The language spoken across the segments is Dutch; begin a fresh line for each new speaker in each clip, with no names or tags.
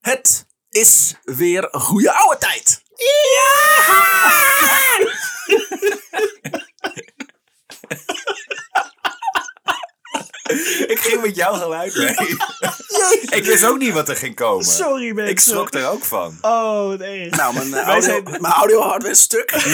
Het is weer goede oude tijd.
Ik ging met jouw geluid mee. Ik wist ook niet wat er ging komen.
Sorry mensen.
Ik schrok er ook van.
Oh, wat erg.
Nou, mijn, eh,
Wij
audio,
zijn-
mijn audio hardware is stuk.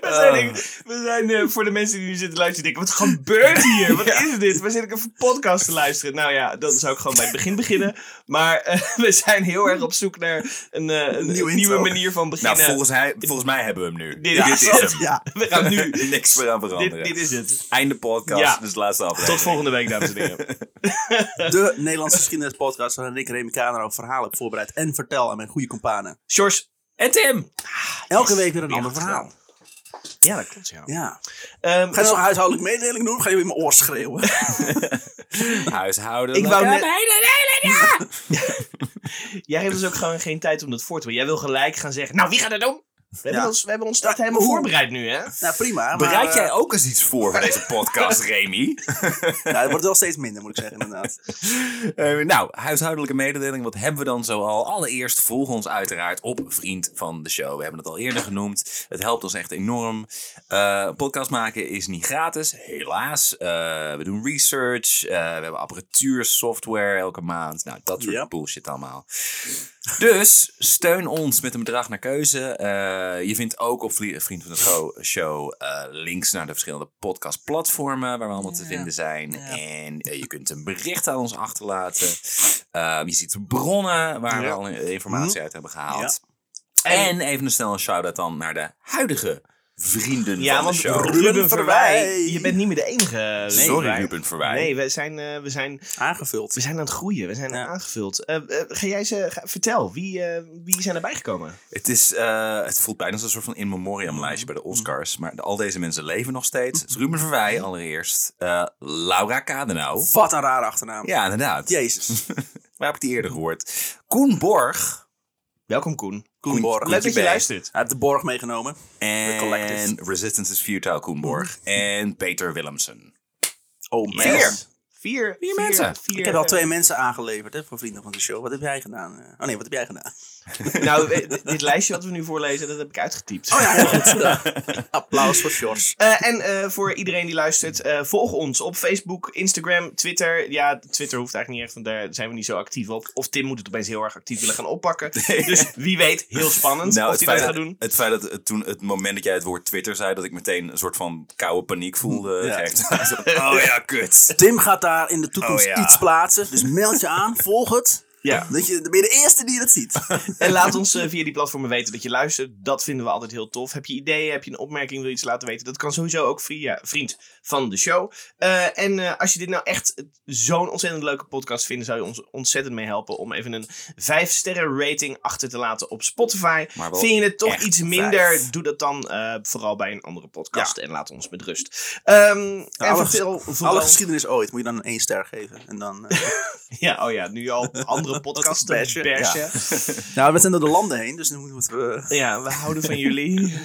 we zijn, ik- we zijn eh, voor de mensen die nu zitten luisteren, denken, wat gebeurt hier? Wat is dit? Waar zit ik even podcast te luisteren? Nou ja, dan zou ik gewoon bij het begin beginnen. Maar eh, we zijn heel erg op zoek naar een, eh, een
Nieuwe
nieuwe
intro.
manier van
Nou,
beginnen.
volgens, hij, volgens mij hebben we hem nu.
Dit is
is
het.
hem.
ja.
We gaan nu.
Niks meer aan veranderen.
Dit, dit is het.
Einde podcast,
Ja.
dus de laatste aflevering.
Tot volgende week, dames en heren.
De Nederlandse geschiedenispodcast waarin ik, Remy Kaner, ook verhalen heb voorbereid en vertel aan mijn goede kompanen.
Sjors en Tim.
Elke week weer een
Weer
ander verhaal.
Ja, dat klopt, ja.
Ja.
Ehm,
Ga je nog een huishoudelijk mededeling doen of ga je weer in mijn oor schreeuwen?
Huishouden.
ik wou net... Jij hebt dus ook gewoon geen tijd om dat voor te brengen. Jij wil gelijk gaan zeggen, nou, wie gaat dat doen? We hebben,
Ja.
ons, we hebben ons start helemaal
Hoe?
voorbereid nu, hè?
nou, prima. Maar,
Bereid
eh,
jij ook eens iets voor voor deze podcast, Remy?
nou, het wordt wel steeds minder, moet ik zeggen, inderdaad.
Eh, nou, huishoudelijke mededeling, wat hebben we dan zoal? Allereerst volg ons uiteraard op Vriend van de Show. We hebben het al eerder genoemd. Het helpt ons echt enorm. Eh, podcast maken is niet gratis, helaas. Eh, we doen research, eh, we hebben apparatuur, software elke maand. Nou, dat soort
Ja.
bullshit allemaal. Dus steun ons met een bedrag naar keuze. Eh, je vindt ook op Vlie- Vriend van de Show, show eh, links naar de verschillende podcastplatformen waar we allemaal te vinden zijn. En eh, je kunt een bericht aan ons achterlaten. Eh, je ziet bronnen waar we
Ja.
al informatie uit hebben gehaald. En even een snelle shout-out dan naar de huidige vrienden
Ja,
van
want
de show.
Ruben
Ruben Verwij,
Verwij.
je bent niet meer de enige. Ruben
Sorry,
Verwij.
Ruben Verwij.
Nee, we zijn, eh, we, zijn,
Aangevuld.
we
Dus
zijn aan het groeien. We zijn
Ja.
aangevuld. Eh, eh, ga jij ze, ga- vertel, wie, eh, wie zijn erbij gekomen?
Het, is, eh, het voelt bijna als een soort van in memoriam lijstje bij de Oscars. Maar de- al deze mensen leven nog steeds. Dus Ruben Verwij allereerst. Eh, Laura Kadenau.
Wat een rare achternaam.
Ja, inderdaad.
Jezus.
Waar heb ik die eerder gehoord? Koen Borg.
Welkom Koen.
Koen Borg.
Leuk dat je
bij.
luistert.
Hij heeft de borg meegenomen.
En
Collective.
Resistance is Futile Koen Borg. En Peter Willemsen.
Oh, man.
Vier.
Vier,
Vier mensen.
vier,
Ik heb al
eh,
twee mensen aangeleverd hè, voor vrienden van de show. Wat heb jij gedaan? eh? Oh nee, wat heb jij gedaan?
Nou, eh, dit- dit lijstje wat we nu voorlezen, dat heb ik uitgetypt.
Oh ja, heel goed. Applaus voor Sjors.
Eh, en eh, voor iedereen die luistert, eh, volg ons op Facebook, Instagram, Twitter. Ja, Twitter hoeft eigenlijk niet echt, want daar zijn we niet zo actief op. Of Tim moet het opeens heel erg actief willen gaan oppakken. Dus wie weet, heel spannend
Nou,
of
het
hij dat
feit, dat,
gaat doen.
het feit dat het toen het moment dat jij het woord Twitter zei, dat ik meteen een soort van koude paniek voelde.
Ja.
Echt. Zo, oh ja, kut.
Tim gaat daar in de toekomst
Oh ja.
iets plaatsen. Dus meld je aan, volg het.
Ja.
Dat je, dan ben je de eerste die dat ziet.
En laat ons eh, via die platformen weten dat je luistert. Dat vinden we altijd heel tof. Heb je ideeën, heb je een opmerking, wil je iets laten weten? Dat kan sowieso ook via vriend van de show. Eh, en eh, als je dit nou echt zo'n ontzettend leuke podcast vindt, zou je ons ontzettend mee helpen om even een 5 sterren rating achter te laten op Spotify.
Maar wel
Vind je het toch
echt
iets minder?
vijf.
Doe dat dan eh, vooral bij een andere podcast en laat ons met rust. Ehm, en
alle
vertel
Alle
vooral...
geschiedenis ooit moet je dan een één ster geven. En dan, eh,
Ja, oh ja, nu al andere podcasts
bashen.
bashen.
Ja. nou, we zijn door de landen heen, dus dan moeten we... eh,
Ja, we houden van jullie.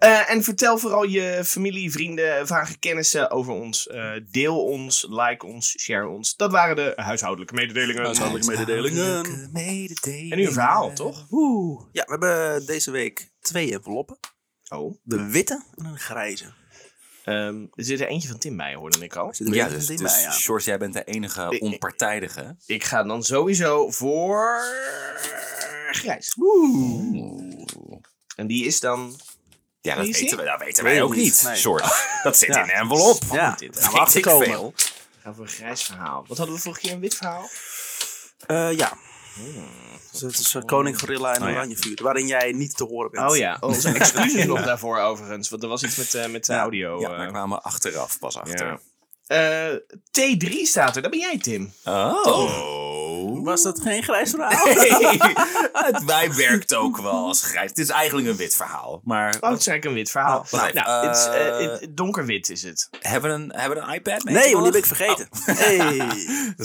Eh, en vertel vooral je familie, vrienden, vragen, kennissen over ons. Eh, deel ons, like ons, share ons. Dat waren de huishoudelijke mededelingen.
Huishoudelijke mededelingen.
mededelingen.
En nu een verhaal, toch?
Oeh. Ja, we hebben deze week twee enveloppen.
Oh.
De witte en een grijze. Er
Ehm, er zit er eentje van Tim bij, hoorde ik al.
zit een
Ja,
witte
dus,
ding
dus
bij, ja.
George, jij bent de enige
ik-
onpartijdige.
Ik ga dan sowieso voor... Grijs. En die is dan...
Ja, dat
Weet je?
weten, we, dat weten
Weet
wij
ik
ook
niet,
niet,
nee. Ah,
George. Dat zit
Ja.
in een envelop.
Ja,
dit.
nou,
Weet ik
afgekomen.
veel.
Ik ga voor een grijs verhaal. Wat hadden we vorige keer? Een wit verhaal?
Eh, ja. Dus het is eh, Koning Gorilla en
Hmm. Oh, ja.
Oranje Vuur, waarin jij niet te horen bent.
Oh ja, onze excuses nog daarvoor overigens. Want er was iets met, eh, met de
Ja,
audio.
Ja,
eh.
daar kwamen we achteraf pas achter.
Ja. Eh, T3 staat er, dat ben jij Tim.
Oh.
Was dat geen grijs verhaal?
het, wij werkt ook wel als grijs. Het is eigenlijk een wit verhaal. Maar
Oh, het is eigenlijk een wit verhaal.
Nou,
Nou,
eh,
het is, eh, het- donkerwit is het.
hebben we een, hebben we een iPad mee?
Nee, want die
toevallig?
ben ik vergeten. Hey.
Dus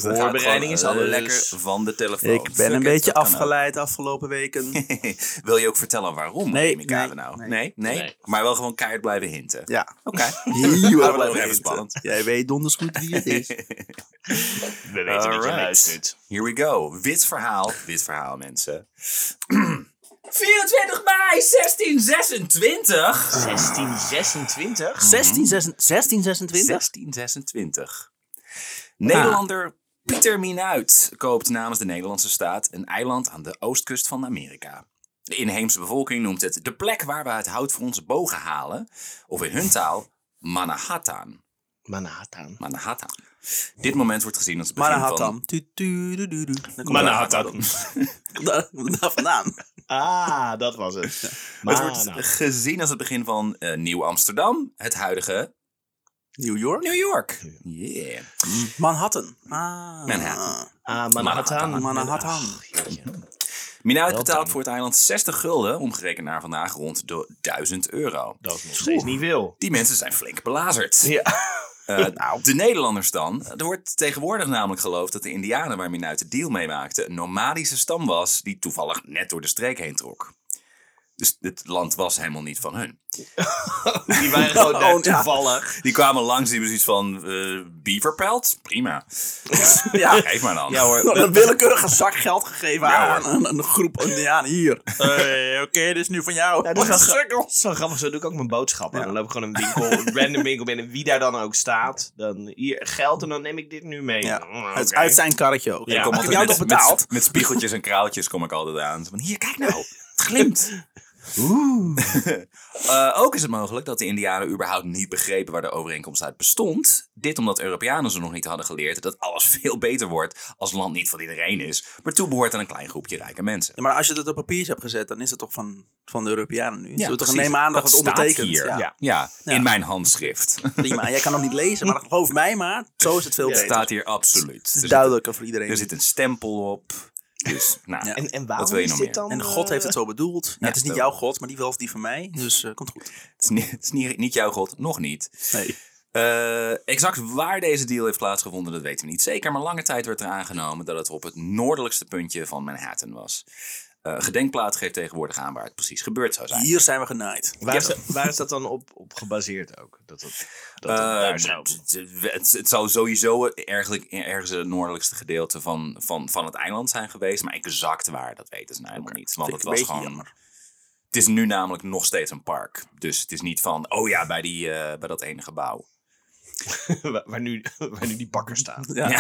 Oh. dat
Voorbereiding
gaat gewoon
is alles.
lekker van de telefoon.
Ik ben
Fuck
een
it,
beetje
dat kan ook.
afgeleid afgelopen weken.
Wil je ook vertellen waarom?
Nee,
neem ik aan
nee,
nou? Nee
nee.
nee,
Nee.
maar wel gewoon keihard blijven hinten.
Ja.
Oké.
Heel
dat
erg
blijft even
leuk.
spannend.
Jij weet donders goed wie het is.
We weten dat je
Alright.
luistert.
Here we go. Wit verhaal. Wit verhaal, mensen.
24 mei
1626.
Mhm.
1626.
1626?
1626. Nederlander Pieter Minuit koopt namens de Nederlandse staat een eiland aan de oostkust van Amerika. De inheemse bevolking noemt het de plek waar we het hout voor onze bogen halen, of in hun taal Manhattan.
Manhattan.
Manhattan. Dit moment wordt gezien als het begin van...
Manhattan. Tu- tu- du- du- du. Dan komt
Manhattan.
Daar, daar vandaan.
Ah, dat was het.
Het wordt gezien als het begin van eh, Nieuw-Amsterdam, het huidige
New York?
New York. Yeah.
Manhattan. Ah.
Mhm. Manhattan.
Ah,
Manhattan.
Manhattan.
Manhattan.
Ach, jeetje.
Minuit
Wel
betaalt
dan.
voor het eiland 60 gulden, omgerekend naar vandaag rond de 1000 euro.
Dat is nog steeds niet veel.
Die mensen zijn flink belazerd.
Ja.
Eh, de Nederlanders dan. Er wordt tegenwoordig namelijk geloofd dat de indianen waar Minuit de deal mee maakte... een nomadische stam was die toevallig net door de streek heen trok. Dus het land was helemaal niet van hun.
Die waren gewoon daar
Oh, ja.
toevallig.
Die kwamen langs, die hebben zoiets van... eh bieverpelt? Prima.
Ja.
Geef maar dan.
Ja hoor.
Een willekeurige zak geld gegeven
Ja,
aan een, een groep Indianen hier. Eh, Oké, dit is nu van jou.
Ja, dat is wel gra- zo grappig. Zo doe ik ook mijn boodschappen. Dan loop ik gewoon een winkel, een random winkel binnen. Wie daar dan ook staat. Dan hier geld en dan neem ik dit nu mee.
Ja.
Mm,
Uit,
oké.
uit zijn karretje ook.
Ja.
Ik
Ik
heb
kom
jou
altijd
toch
met,
betaald?
met, met spiegeltjes en kraaltjes kom ik altijd aan. Zo Van, hier, kijk nou. Het glimt. Eh, ook is het mogelijk dat de indianen überhaupt niet begrepen waar de overeenkomst uit bestond. Dit omdat Europeanen ze nog niet hadden geleerd dat alles veel beter wordt als land niet van iedereen is, maar toebehoort aan een klein groepje rijke mensen.
Ja, maar als je dat op papier hebt gezet, dan is het toch van, van de Europeanen nu? Zullen we toch
precies.
nemen aan dat, het
staat
ondertekend
hier.
Ja,
Ja. in mijn handschrift.
prima. Jij kan hem niet lezen, maar geloof mij maar. Zo is het veel
Ja,
Het
beter.
staat hier absoluut.
Het
Er
is
zit,
duidelijker voor iedereen.
er zit een stempel op. Dus, nou,
Ja.
En, en waarom
Wat wil je
is
nog
dit
meer?
dan? eh,
En God heeft het zo bedoeld. Ja, het is niet
zo.
jouw God, maar die wel of die van mij. Dus eh, komt goed.
het is, niet, het is niet, niet jouw god, nog niet.
Nee.
Eh, exact waar deze deal heeft plaatsgevonden, dat weten we niet zeker. Maar lange tijd werd er aangenomen dat het op het noordelijkste puntje van Manhattan was. Eh gedenkplaats geeft tegenwoordig aan waar het precies gebeurd zou zijn.
Hier zijn we genaaid.
Waar, is, waar is dat dan op, op gebaseerd ook? Dat het, dat het
Eh,
daar
d-
zou-
d- het, het zou sowieso ergelijk, ergens het noordelijkste gedeelte van, van, van het eiland zijn geweest. Maar exact waar, dat weten ze nou helemaal niet. Want
Vind
het
ik een
was
beetje
gewoon.
jammer.
Het is nu namelijk nog steeds een park. Dus het is niet van, oh ja, bij, die, eh, bij dat ene gebouw.
waar, waar nu, waar nu die bakker staat.
Ja.
Ja.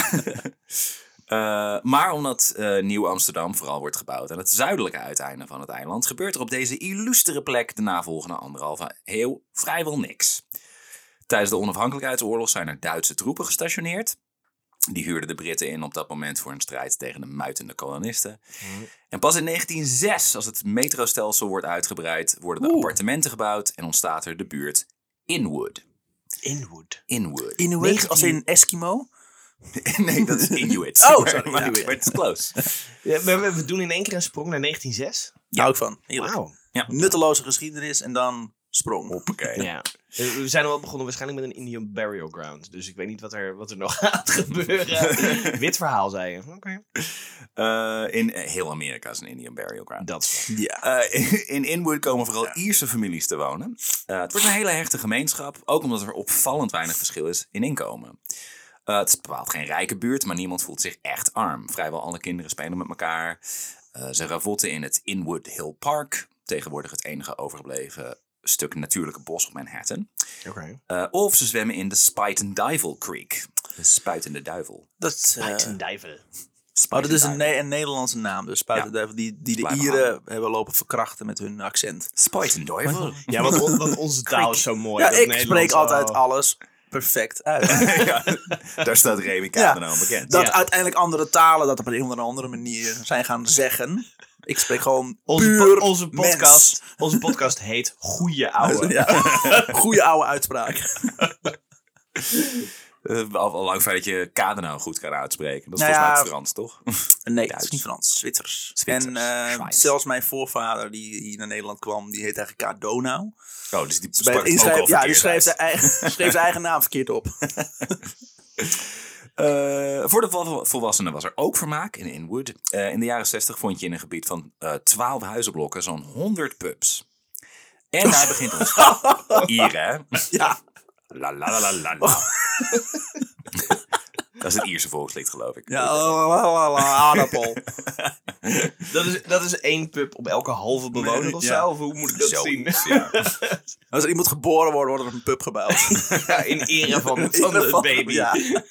Eh, maar omdat eh, Nieuw-Amsterdam vooral wordt gebouwd aan het zuidelijke uiteinde van het eiland, gebeurt er op deze illustere plek de navolgende anderhalve eeuw vrijwel niks. Tijdens de onafhankelijkheidsoorlog zijn er Duitse troepen gestationeerd. Die huurden de Britten in op dat moment voor hun strijd tegen de muitende kolonisten. En pas in 1906, als het metrostelsel wordt uitgebreid, worden de appartementen gebouwd en ontstaat er de buurt Inwood.
Inwood.
Inwood.
Inuit als in Eskimo.
nee, dat is Inuit.
Oh,
Maar-
sorry,
maar-
Inuit.
maar het is close.
Ja, we, we- we doen in één keer een sprong naar 1906.
Ja. Hou ik van. Heerlijk.
Wauw.
Nutteloze geschiedenis en dan sprong.
Hoppakee.
Ja. Eh, We zijn al wel begonnen waarschijnlijk met een Indian Burial Ground. Dus ik weet niet wat er, wat er nog gaat gebeuren. Wit verhaal, zei je. Oké.
Eh, in eh, heel Amerika is een Indian burial ground.
Dat is
Ja.
Eh, in Inwood komen vooral Ierse families te wonen. Eh, het wordt een hele hechte gemeenschap, ook omdat er opvallend weinig verschil is in inkomen. Eh, het is bepaald geen rijke buurt, maar niemand voelt zich echt arm. Vrijwel alle kinderen spelen met elkaar. Eh, ze ravotten in het Inwood Hill Park, tegenwoordig het enige overgebleven stuk natuurlijke bos op Manhattan.
Oké.
Eh, of ze zwemmen in de Spite and Duivel Creek. De spuitende duivel.
Dat, is, eh,
Python Diver.
oh, dat is een, ne- een Nederlandse naam. Dus spuitenduivel die, die de
Blijven
Ieren hebben lopen verkrachten met hun accent.
Spite and Duivel.
Ja, want, on- want onze taal is zo mooi.
Ja,
dat
ik
Nederlands-
spreek altijd
oh.
alles perfect uit.
ja, daar staat Remy Kamer al bekend.
Dat
Ja.
uiteindelijk andere talen dat op een of andere manier zijn gaan zeggen. Ik spreek gewoon
Onze, po-
puur
onze,
mens.
podcast, onze podcast heet Goeie Ouwe.
Ja. Goeie oude uitspraak.
Eh, al, al lang fijn dat je kader nou goed kan uitspreken. Dat is
Nou
volgens mij
ja.
het Frans, toch?
Nee, het
Duits.
is niet Frans. Zwitsers.
Zwitsers.
En eh,
Schweiz.
zelfs mijn voorvader die hier naar Nederland kwam, die heet eigenlijk K. Donau.
Oh, dus die
Dus bij
sprak
het
het ook
inschrijven, ja,
al
die
verkeerd
schreef
uit.
zijn, eigen, schreef zijn eigen naam verkeerd op.
Eh, voor de vol- volwassenen was er ook vermaak in Inwood. Eh, in de jaren 60 vond je in een gebied van eh 12 huizenblokken zo'n 100 pubs. En daar begint ons hier, hè?
Ja,
La la la la la. la.
Oh.
Dat is het Ierse volkslied, geloof ik.
ja oh, la, la, la, la, aardappel.
Dat is, dat is één pub op elke halve bewoner of zo.
Ja.
Of hoe moet ik dat zien?
Zoiets, ja.
Als er iemand geboren wordt, wordt er een pub gebouwd.
Ja, in ere van, van
In
het
ieder
baby.
geval, ja.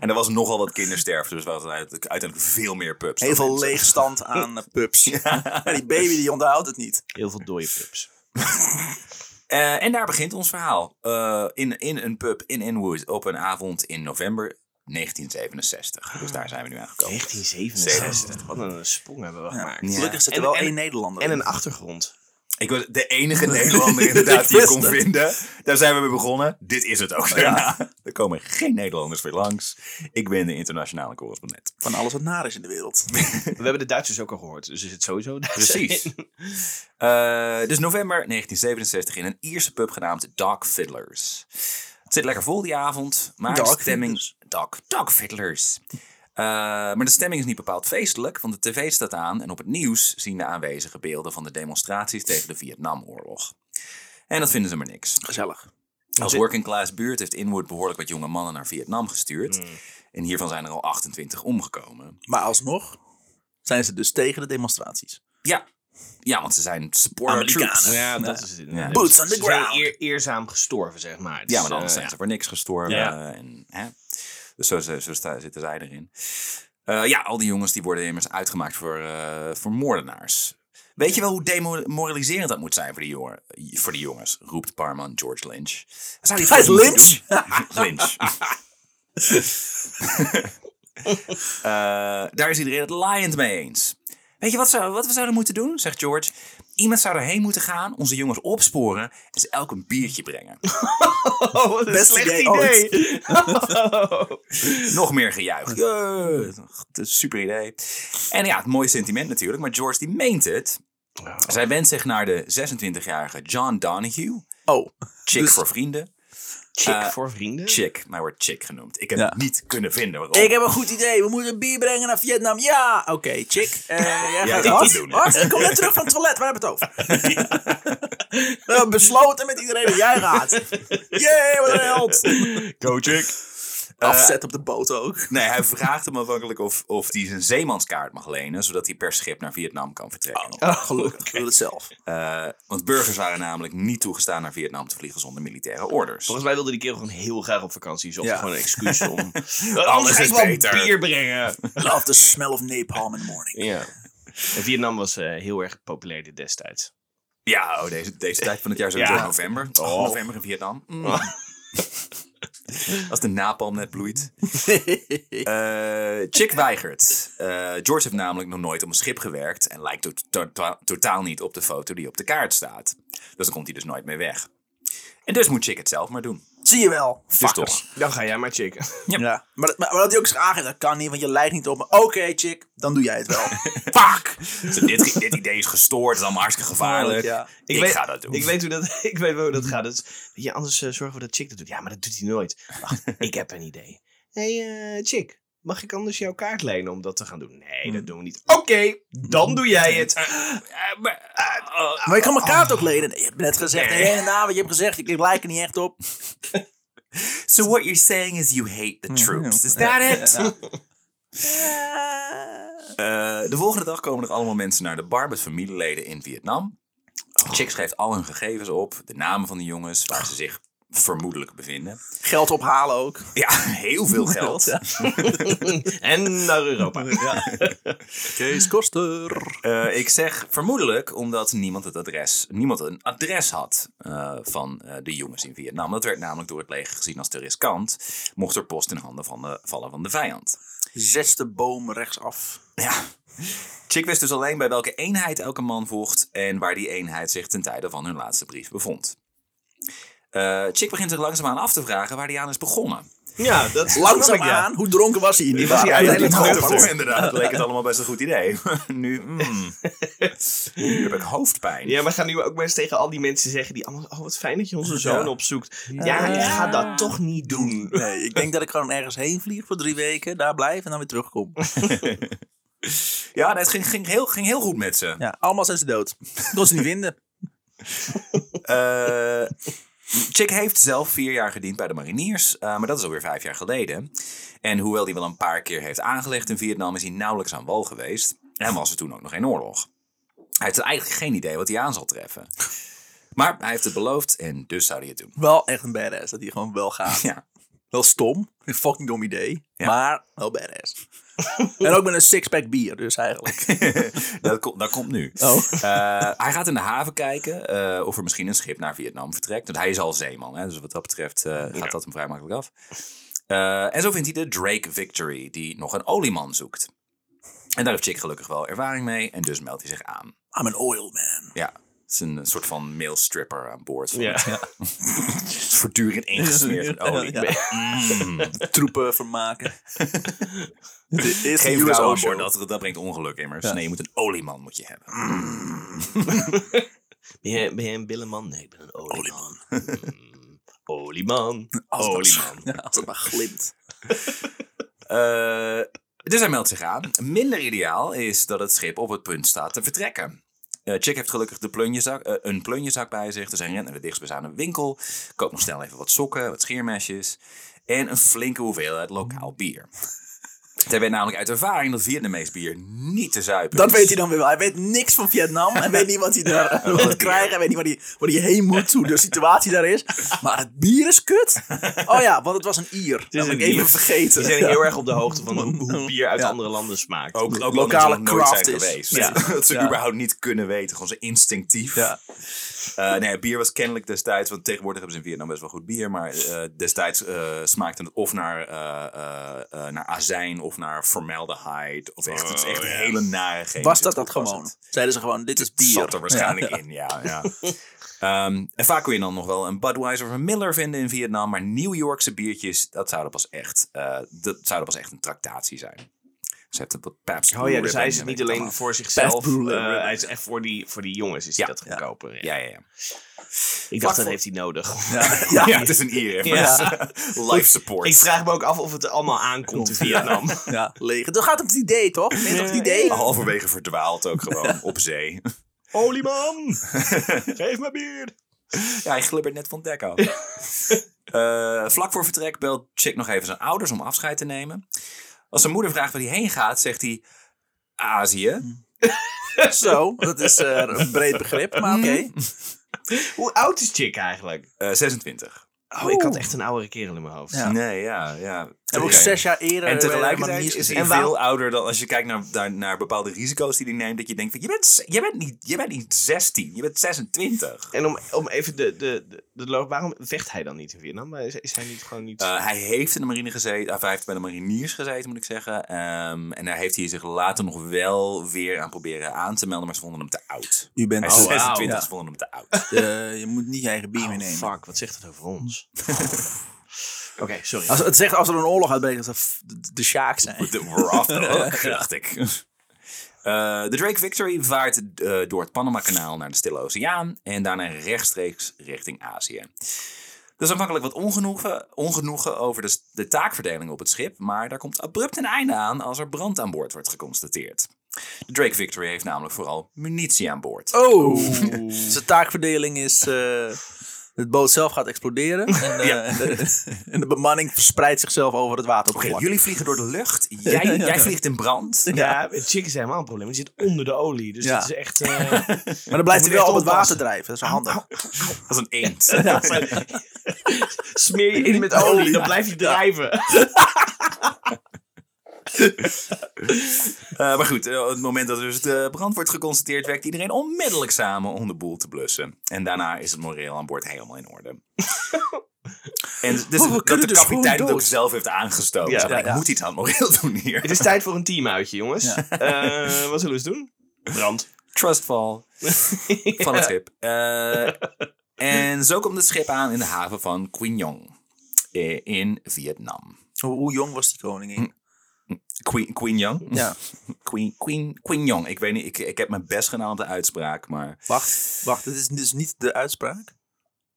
En er was nogal wat kindersterfte, dus we hadden uiteindelijk uiteindelijk veel meer pubs.
Heel
dan
veel
mensen.
leegstand aan eh, pubs. Maar die baby die onthoudt het niet.
Heel veel dode pubs.
Eh, en daar begint ons verhaal. Eh, in, in een pub in Inwood op een avond in november 1967. Dus daar zijn we nu aangekomen.
1967. Wat een sprong hebben we
Ja.
gemaakt.
Gelukkig zit er
En-
wel
en-
één Nederlander
En
in.
een achtergrond.
Ik was de enige Nederlander inderdaad die ik kon vinden. Daar zijn we mee begonnen. Dit is het ook daarna. Er komen geen Nederlanders meer langs. Ik ben de internationale correspondent.
van alles wat naar is in de wereld.
We hebben de Duitsers ook al gehoord. Dus is het sowieso Duitsers.
Precies. Eh, dus november 1967 in een Ierse pub genaamd Dog Fiddlers. Het zit lekker vol die avond, maar
Dog
de stemming... Dog, Dog Fiddlers. Eh, maar de stemming is niet bepaald feestelijk, want de tv staat aan... en op het nieuws zien de aanwezigen beelden van de demonstraties tegen de Vietnamoorlog. En dat vinden ze maar niks.
Gezellig.
Als working class buurt heeft Inwood behoorlijk wat jonge mannen naar Vietnam gestuurd. En hiervan zijn er al 28 omgekomen.
Maar alsnog zijn ze dus tegen de demonstraties.
Ja, ja want ze zijn supporter
Amerikanen.
troops.
Ja, dat
Ja.
is het.
Ja.
Boots on the
Ze zijn
ground.
eer- eerzaam gestorven, zeg maar. Dus,
Ja, maar
eh,
anders zijn ze voor niks gestorven.
Ja.
eh, En, hè? Dus zo, zo, zo sta- zitten zij erin. Eh, ja, al die jongens die worden immers uitgemaakt voor, eh, voor moordenaars. Weet je wel hoe demoraliserend dat moet zijn voor die, jongen, voor die jongens? Roept barman George Lynch. Zou die
Hij is
vast moeten
Lynch?
doen? Lynch. Eh, daar is iedereen het laaiend mee eens. Weet je wat, zou, wat we zouden moeten doen? Zegt George. Iemand zou erheen moeten gaan, onze jongens opsporen en ze elk een biertje brengen.
Oh, wat een
Beste
slecht
idee
idee.
ooit.
Nog meer gejuich. Yeah. Super idee. En ja, het mooie sentiment natuurlijk. Maar George die meent het. Zij wendt zich naar de 26-jarige John Donahue.
Oh,
Chick
Dus-
voor vrienden.
Chick
Eh,
voor vrienden.
Chick. Mij wordt Chick genoemd. Ik heb
Ja.
het niet kunnen vinden waarom.
ik heb een goed idee. We moeten een bier brengen naar Vietnam. Ja, oké, chick. Eh, jij gaat
dat
wat?
niet doen, hè?
Wat? Ik kom net terug van het toilet. Waar hebben we het over? We hebben besloten met iedereen dat jij gaat. Jee, wat een held. Eh,
Go Chick.
Afzet op de boot ook.
Nee, hij vraagt hem aanvankelijk of, of hij zijn zeemanskaart mag lenen. Zodat hij per schip naar Vietnam kan vertrekken.
Oh. Gelukkig, ik wil het zelf.
Eh, want burgers waren namelijk niet toegestaan naar Vietnam te vliegen zonder militaire orders.
Volgens mij wilde die kerel gewoon heel graag op vakantie. Zocht
Ja.
gewoon een excuus om... Anders
Alles
ga ik
is
wel
beter.
bier brengen.
Love the smell of napalm in the morning.
Ja. En Vietnam was eh, heel erg populair destijds.
Ja, oh, deze, deze tijd van het jaar sowieso
Ja.
in november.
Oh.
November in Vietnam. Mm. Als de napalm net bloeit. Eh, Chick weigert. Eh, George heeft namelijk nog nooit op een schip gewerkt en lijkt to- to- to- totaal niet op de foto die op de kaart staat. Dus dan komt hij dus nooit meer weg. En dus moet Chick het zelf maar doen.
Zie je wel.
Dus
Fuckers.
toch.
Dan ga jij maar checken.
Ja. Maar, dat- maar, maar dat hij ook zich aangeeft, dat kan niet, want je lijkt niet op me. Oké, chick, dan doe jij het wel.
Fuck! Dus dit, dit idee is gestoord, het is allemaal hartstikke gevaarlijk.
Ja.
Ik,
weet,
ga dat doen.
Ik weet hoe dat, ik weet wel hoe dat gaat. Dus, weet je, anders eh, zorgen we dat Chick dat doet. Ja, maar dat doet hij nooit. Wacht, ik heb een idee. Hé, hey, eh, Chick. Mag ik anders jouw kaart lenen om dat te gaan doen? Nee, dat doen we niet. Oké, dan doe jij het.
Eh, maar- eh, oh,
Maar ik kan mijn kaart ook lenen. Nee, je hebt net gezegd,
Nee.
nee, en na wat je hebt gezegd, ik lijk er niet echt op.
So what you're saying is you hate the troops. Is that it? Eh, de volgende dag komen er allemaal mensen naar de bar met familieleden in Vietnam. Chick schrijft al hun gegevens op, de namen van de jongens, waar ze zich vermoedelijk bevinden.
Geld ophalen ook.
Ja, heel veel geld.
Ja.
en naar Europa.
Kees Koster.
Eh, ik zeg vermoedelijk omdat niemand, het adres, niemand een adres had eh, van eh, de jongens in Vietnam. Dat werd namelijk door het leger gezien als te riskant, mocht er post in handen van de, vallen van de vijand.
Zesde boom rechtsaf.
Ja. Chick wist dus alleen bij welke eenheid elke man vocht en waar die eenheid zich ten tijde van hun laatste brief bevond. Eh, Chick begint zich langzaamaan af te vragen waar hij aan is begonnen.
Ja, dat snap
Langzaam
ik, ja.
aan, hoe dronken was hij in die
Was
bar?
hij
Ja,
eigenlijk
dat
niet
hoofd
nuchter?
hoor, inderdaad. Leek het allemaal best een goed idee. nu, mm, nu heb ik hoofdpijn.
Ja, maar gaan nu ook maar eens tegen al die mensen zeggen die allemaal... Oh, wat fijn dat je onze zoon
Ja.
opzoekt. Ja, ik ga dat toch niet doen.
Nee, ik denk dat ik gewoon ergens heen vlieg voor drie weken, daar blijf en dan weer terugkom.
Ja, nee, het ging, ging, heel, ging heel goed met ze.
Ja, allemaal zijn ze dood. Kon ze niet vinden.
Eh, Chick heeft zelf vier jaar gediend bij de mariniers, eh, maar dat is alweer vijf jaar geleden. En hoewel hij wel een paar keer heeft aangelegd in Vietnam, is hij nauwelijks aan wal geweest. En was er toen ook nog geen oorlog. Hij heeft eigenlijk geen idee wat hij aan zal treffen. Maar hij heeft het beloofd en dus zou hij het doen.
Wel echt een badass dat hij gewoon wel gaat.
Ja,
Wel stom, een fucking dom idee,
Ja.
maar wel badass. en ook met een sixpack bier dus eigenlijk.
dat, komt- dat komt nu.
Oh.
Eh, hij gaat in de haven kijken eh, of er misschien een schip naar Vietnam vertrekt. Want hij is al zeeman, hè, dus wat dat betreft eh, gaat dat hem vrij makkelijk af. Eh, en zo vindt hij de Drake Victory, die nog een olieman zoekt. En daar heeft Chick gelukkig wel ervaring mee en dus meldt hij zich aan.
I'm an oil man.
Ja, het is een soort van male stripper aan boord. van
Ja.
het. Voortdurend ingesmeerd in olie.
Ja.
Mm.
Troepen vermaken. Dit is
Geen
de US
vrouw aan
Ocean.
boord, dat, dat brengt ongeluk immers.
Ja. Mm.
Nee, je moet een olieman moet je hebben.
Ben jij, ben jij een billenman? Nee, ik ben een olieman. Mm, Olieman.
Als het-
Olieman.
Ja, als het maar glimt.
Eh, dus hij meldt zich aan. Minder ideaal is dat het schip op het punt staat te vertrekken. Eh, Chick heeft gelukkig de plunjezak, eh, een plunjezak bij zich. Dus hij rent naar de dichtstbijzijnde winkel. Koopt nog snel even wat sokken, wat scheermesjes. En een flinke hoeveelheid lokaal bier. Hij weet namelijk uit ervaring dat Vietnamees bier niet te zuipen
Dat
is.
weet hij dan weer wel. Hij weet niks van Vietnam. Hij weet niet wat hij daar wil krijgen. Hij weet niet waar hij, waar hij heen moet, hoe de situatie daar is. Maar het bier is kut. Oh ja, want het was een Ier. Dat heb ik
een
even
Ier.
vergeten.
Die zijn
Ja.
heel erg op de hoogte van hoe, hoe bier uit
Ja.
andere landen smaakt.
Ook,
Lokale
ook lokale craft
craft is.
geweest.
Ja.
Dat ze
Ja.
überhaupt niet kunnen weten. Gewoon zo instinctief.
Ja.
Eh, nee, bier was kennelijk destijds, want tegenwoordig hebben ze in Vietnam best wel goed bier, maar eh, destijds eh, smaakte het of naar, eh, eh, eh, naar azijn of naar formaldehyde. Of echt, het is echt een hele nare chemische
Oh, Was dat
troep,
dat gewoon?
het.
Zeiden ze gewoon, dit is bier.
Zat er waarschijnlijk in, ja. ja. Ehm, en vaak kun je dan nog wel een Budweiser of een Miller vinden in Vietnam, maar New Yorkse biertjes, dat zouden pas echt, eh, dat zouden pas echt een tractatie zijn. Ze hebben het Pabst
Oh ja,
Blue
dus hij is
Ribbon, weet
niet
ik
alleen
allemaal.
voor zichzelf.
Brew,
eh,
eh,
hij is echt voor die, voor die jongens is hij
Ja,
dat gaan kopen. ja.
Ja, ja, ja.
Ik dacht, dat heeft hij nodig.
Ja,
Ja.
het is een IR.
Ja.
Life support.
Ik vraag me ook af of het allemaal aankomt in Vietnam.
Ja, Oh. leeg. Dan gaat het om het idee, toch? Net om het idee.
Halverwege verdwaald ook gewoon op zee.
Olieman, geef me bier.
Ja, hij glibbert net van het dek af. Eh, vlak voor vertrek belt Chick nog even zijn ouders om afscheid te nemen. Als zijn moeder vraagt waar hij heen gaat, zegt hij "Ah, Azië.
Zo, dat is eh, een breed begrip, maar oké.
Hoe oud is Chick eigenlijk?
Eh, 26.
Oh, ik had echt een oudere kerel in mijn hoofd.
Ja.
Nee, ja, ja.
En ook eh,
Oké.
zes jaar eerder.
En
maar niet
tegelijkertijd is
gezien.
hij
En waar-
veel ouder dan als je kijkt naar, daar, naar bepaalde risico's die hij neemt. Dat je denkt van, je bent, je bent, niet, je bent niet 16, je bent 26.
En om, om even de, de, de, de loop, waarom vecht hij dan niet in Vietnam? Is, is hij niet gewoon niet...
Eh, hij heeft in de marine gezeten, of hij heeft bij de mariniers gezeten, moet ik zeggen. Ehm, en daar heeft hij zich later nog wel weer aan proberen aan te melden, maar ze vonden hem te oud.
U bent
Hij is
oh, wauw.
26,
Ja.
ze vonden hem te oud.
Eh, je moet niet je eigen bier
Oh,
meenemen.
fuck, wat zegt dat over ons? Oké, sorry.
Als, het zegt als er een oorlog uitbreekt, dat ze de, de Sjaak zijn.
De- We're off the hook, dacht ik. Eh, de Drake Victory vaart eh, door het Panama-kanaal naar de Stille Oceaan en daarna rechtstreeks richting Azië. Er is aanvankelijk wat ongenoegen, ongenoegen over de, de taakverdeling op het schip, maar daar komt abrupt een einde aan als er brand aan boord wordt geconstateerd. De Drake Victory heeft namelijk vooral munitie aan boord.
Oh! Zijn taakverdeling is. eh, het boot zelf gaat exploderen. En, eh, en, de, en de bemanning verspreidt zichzelf over het
Oké,
wateroppervlak.
jullie vliegen door de lucht, jij, jij vliegt in brand.
Ja, Chick is helemaal een probleem. Die zit onder de olie. Dus
Ja.
dat is echt... eh,
maar dan blijft hij
Moet
wel
echt
op het water
oppassen.
drijven. Dat is wel handig.
Dat is een eend.
Smeer je in met olie, dan blijf je drijven.
Eh, maar goed, eh, op het moment dat dus de brand wordt geconstateerd, werkt iedereen onmiddellijk samen om de boel te blussen. En daarna is het moreel aan boord helemaal in orde. En dus
we
dat de
kunnen dus
kapitein
gewoon
het ook
dood.
zelf heeft aangestoken.
Ja,
Zeg maar,
ja,
Ik
ja.
moet iets aan het moreel doen hier.
Het is tijd voor een teamuitje, jongens. Eh, wat zullen we eens doen? Brand.
Trustfall van het schip. Eh, en zo komt het schip aan in de haven van Quingyong. eh, in Vietnam.
Hoe, hoe jong was die koningin?
Queen, Queen Young?
Ja.
Queen, Queen, Queen Young. Ik weet niet, ik, ik heb mijn best gedaan op de uitspraak, maar
Wacht, wacht, dit is dus niet de uitspraak.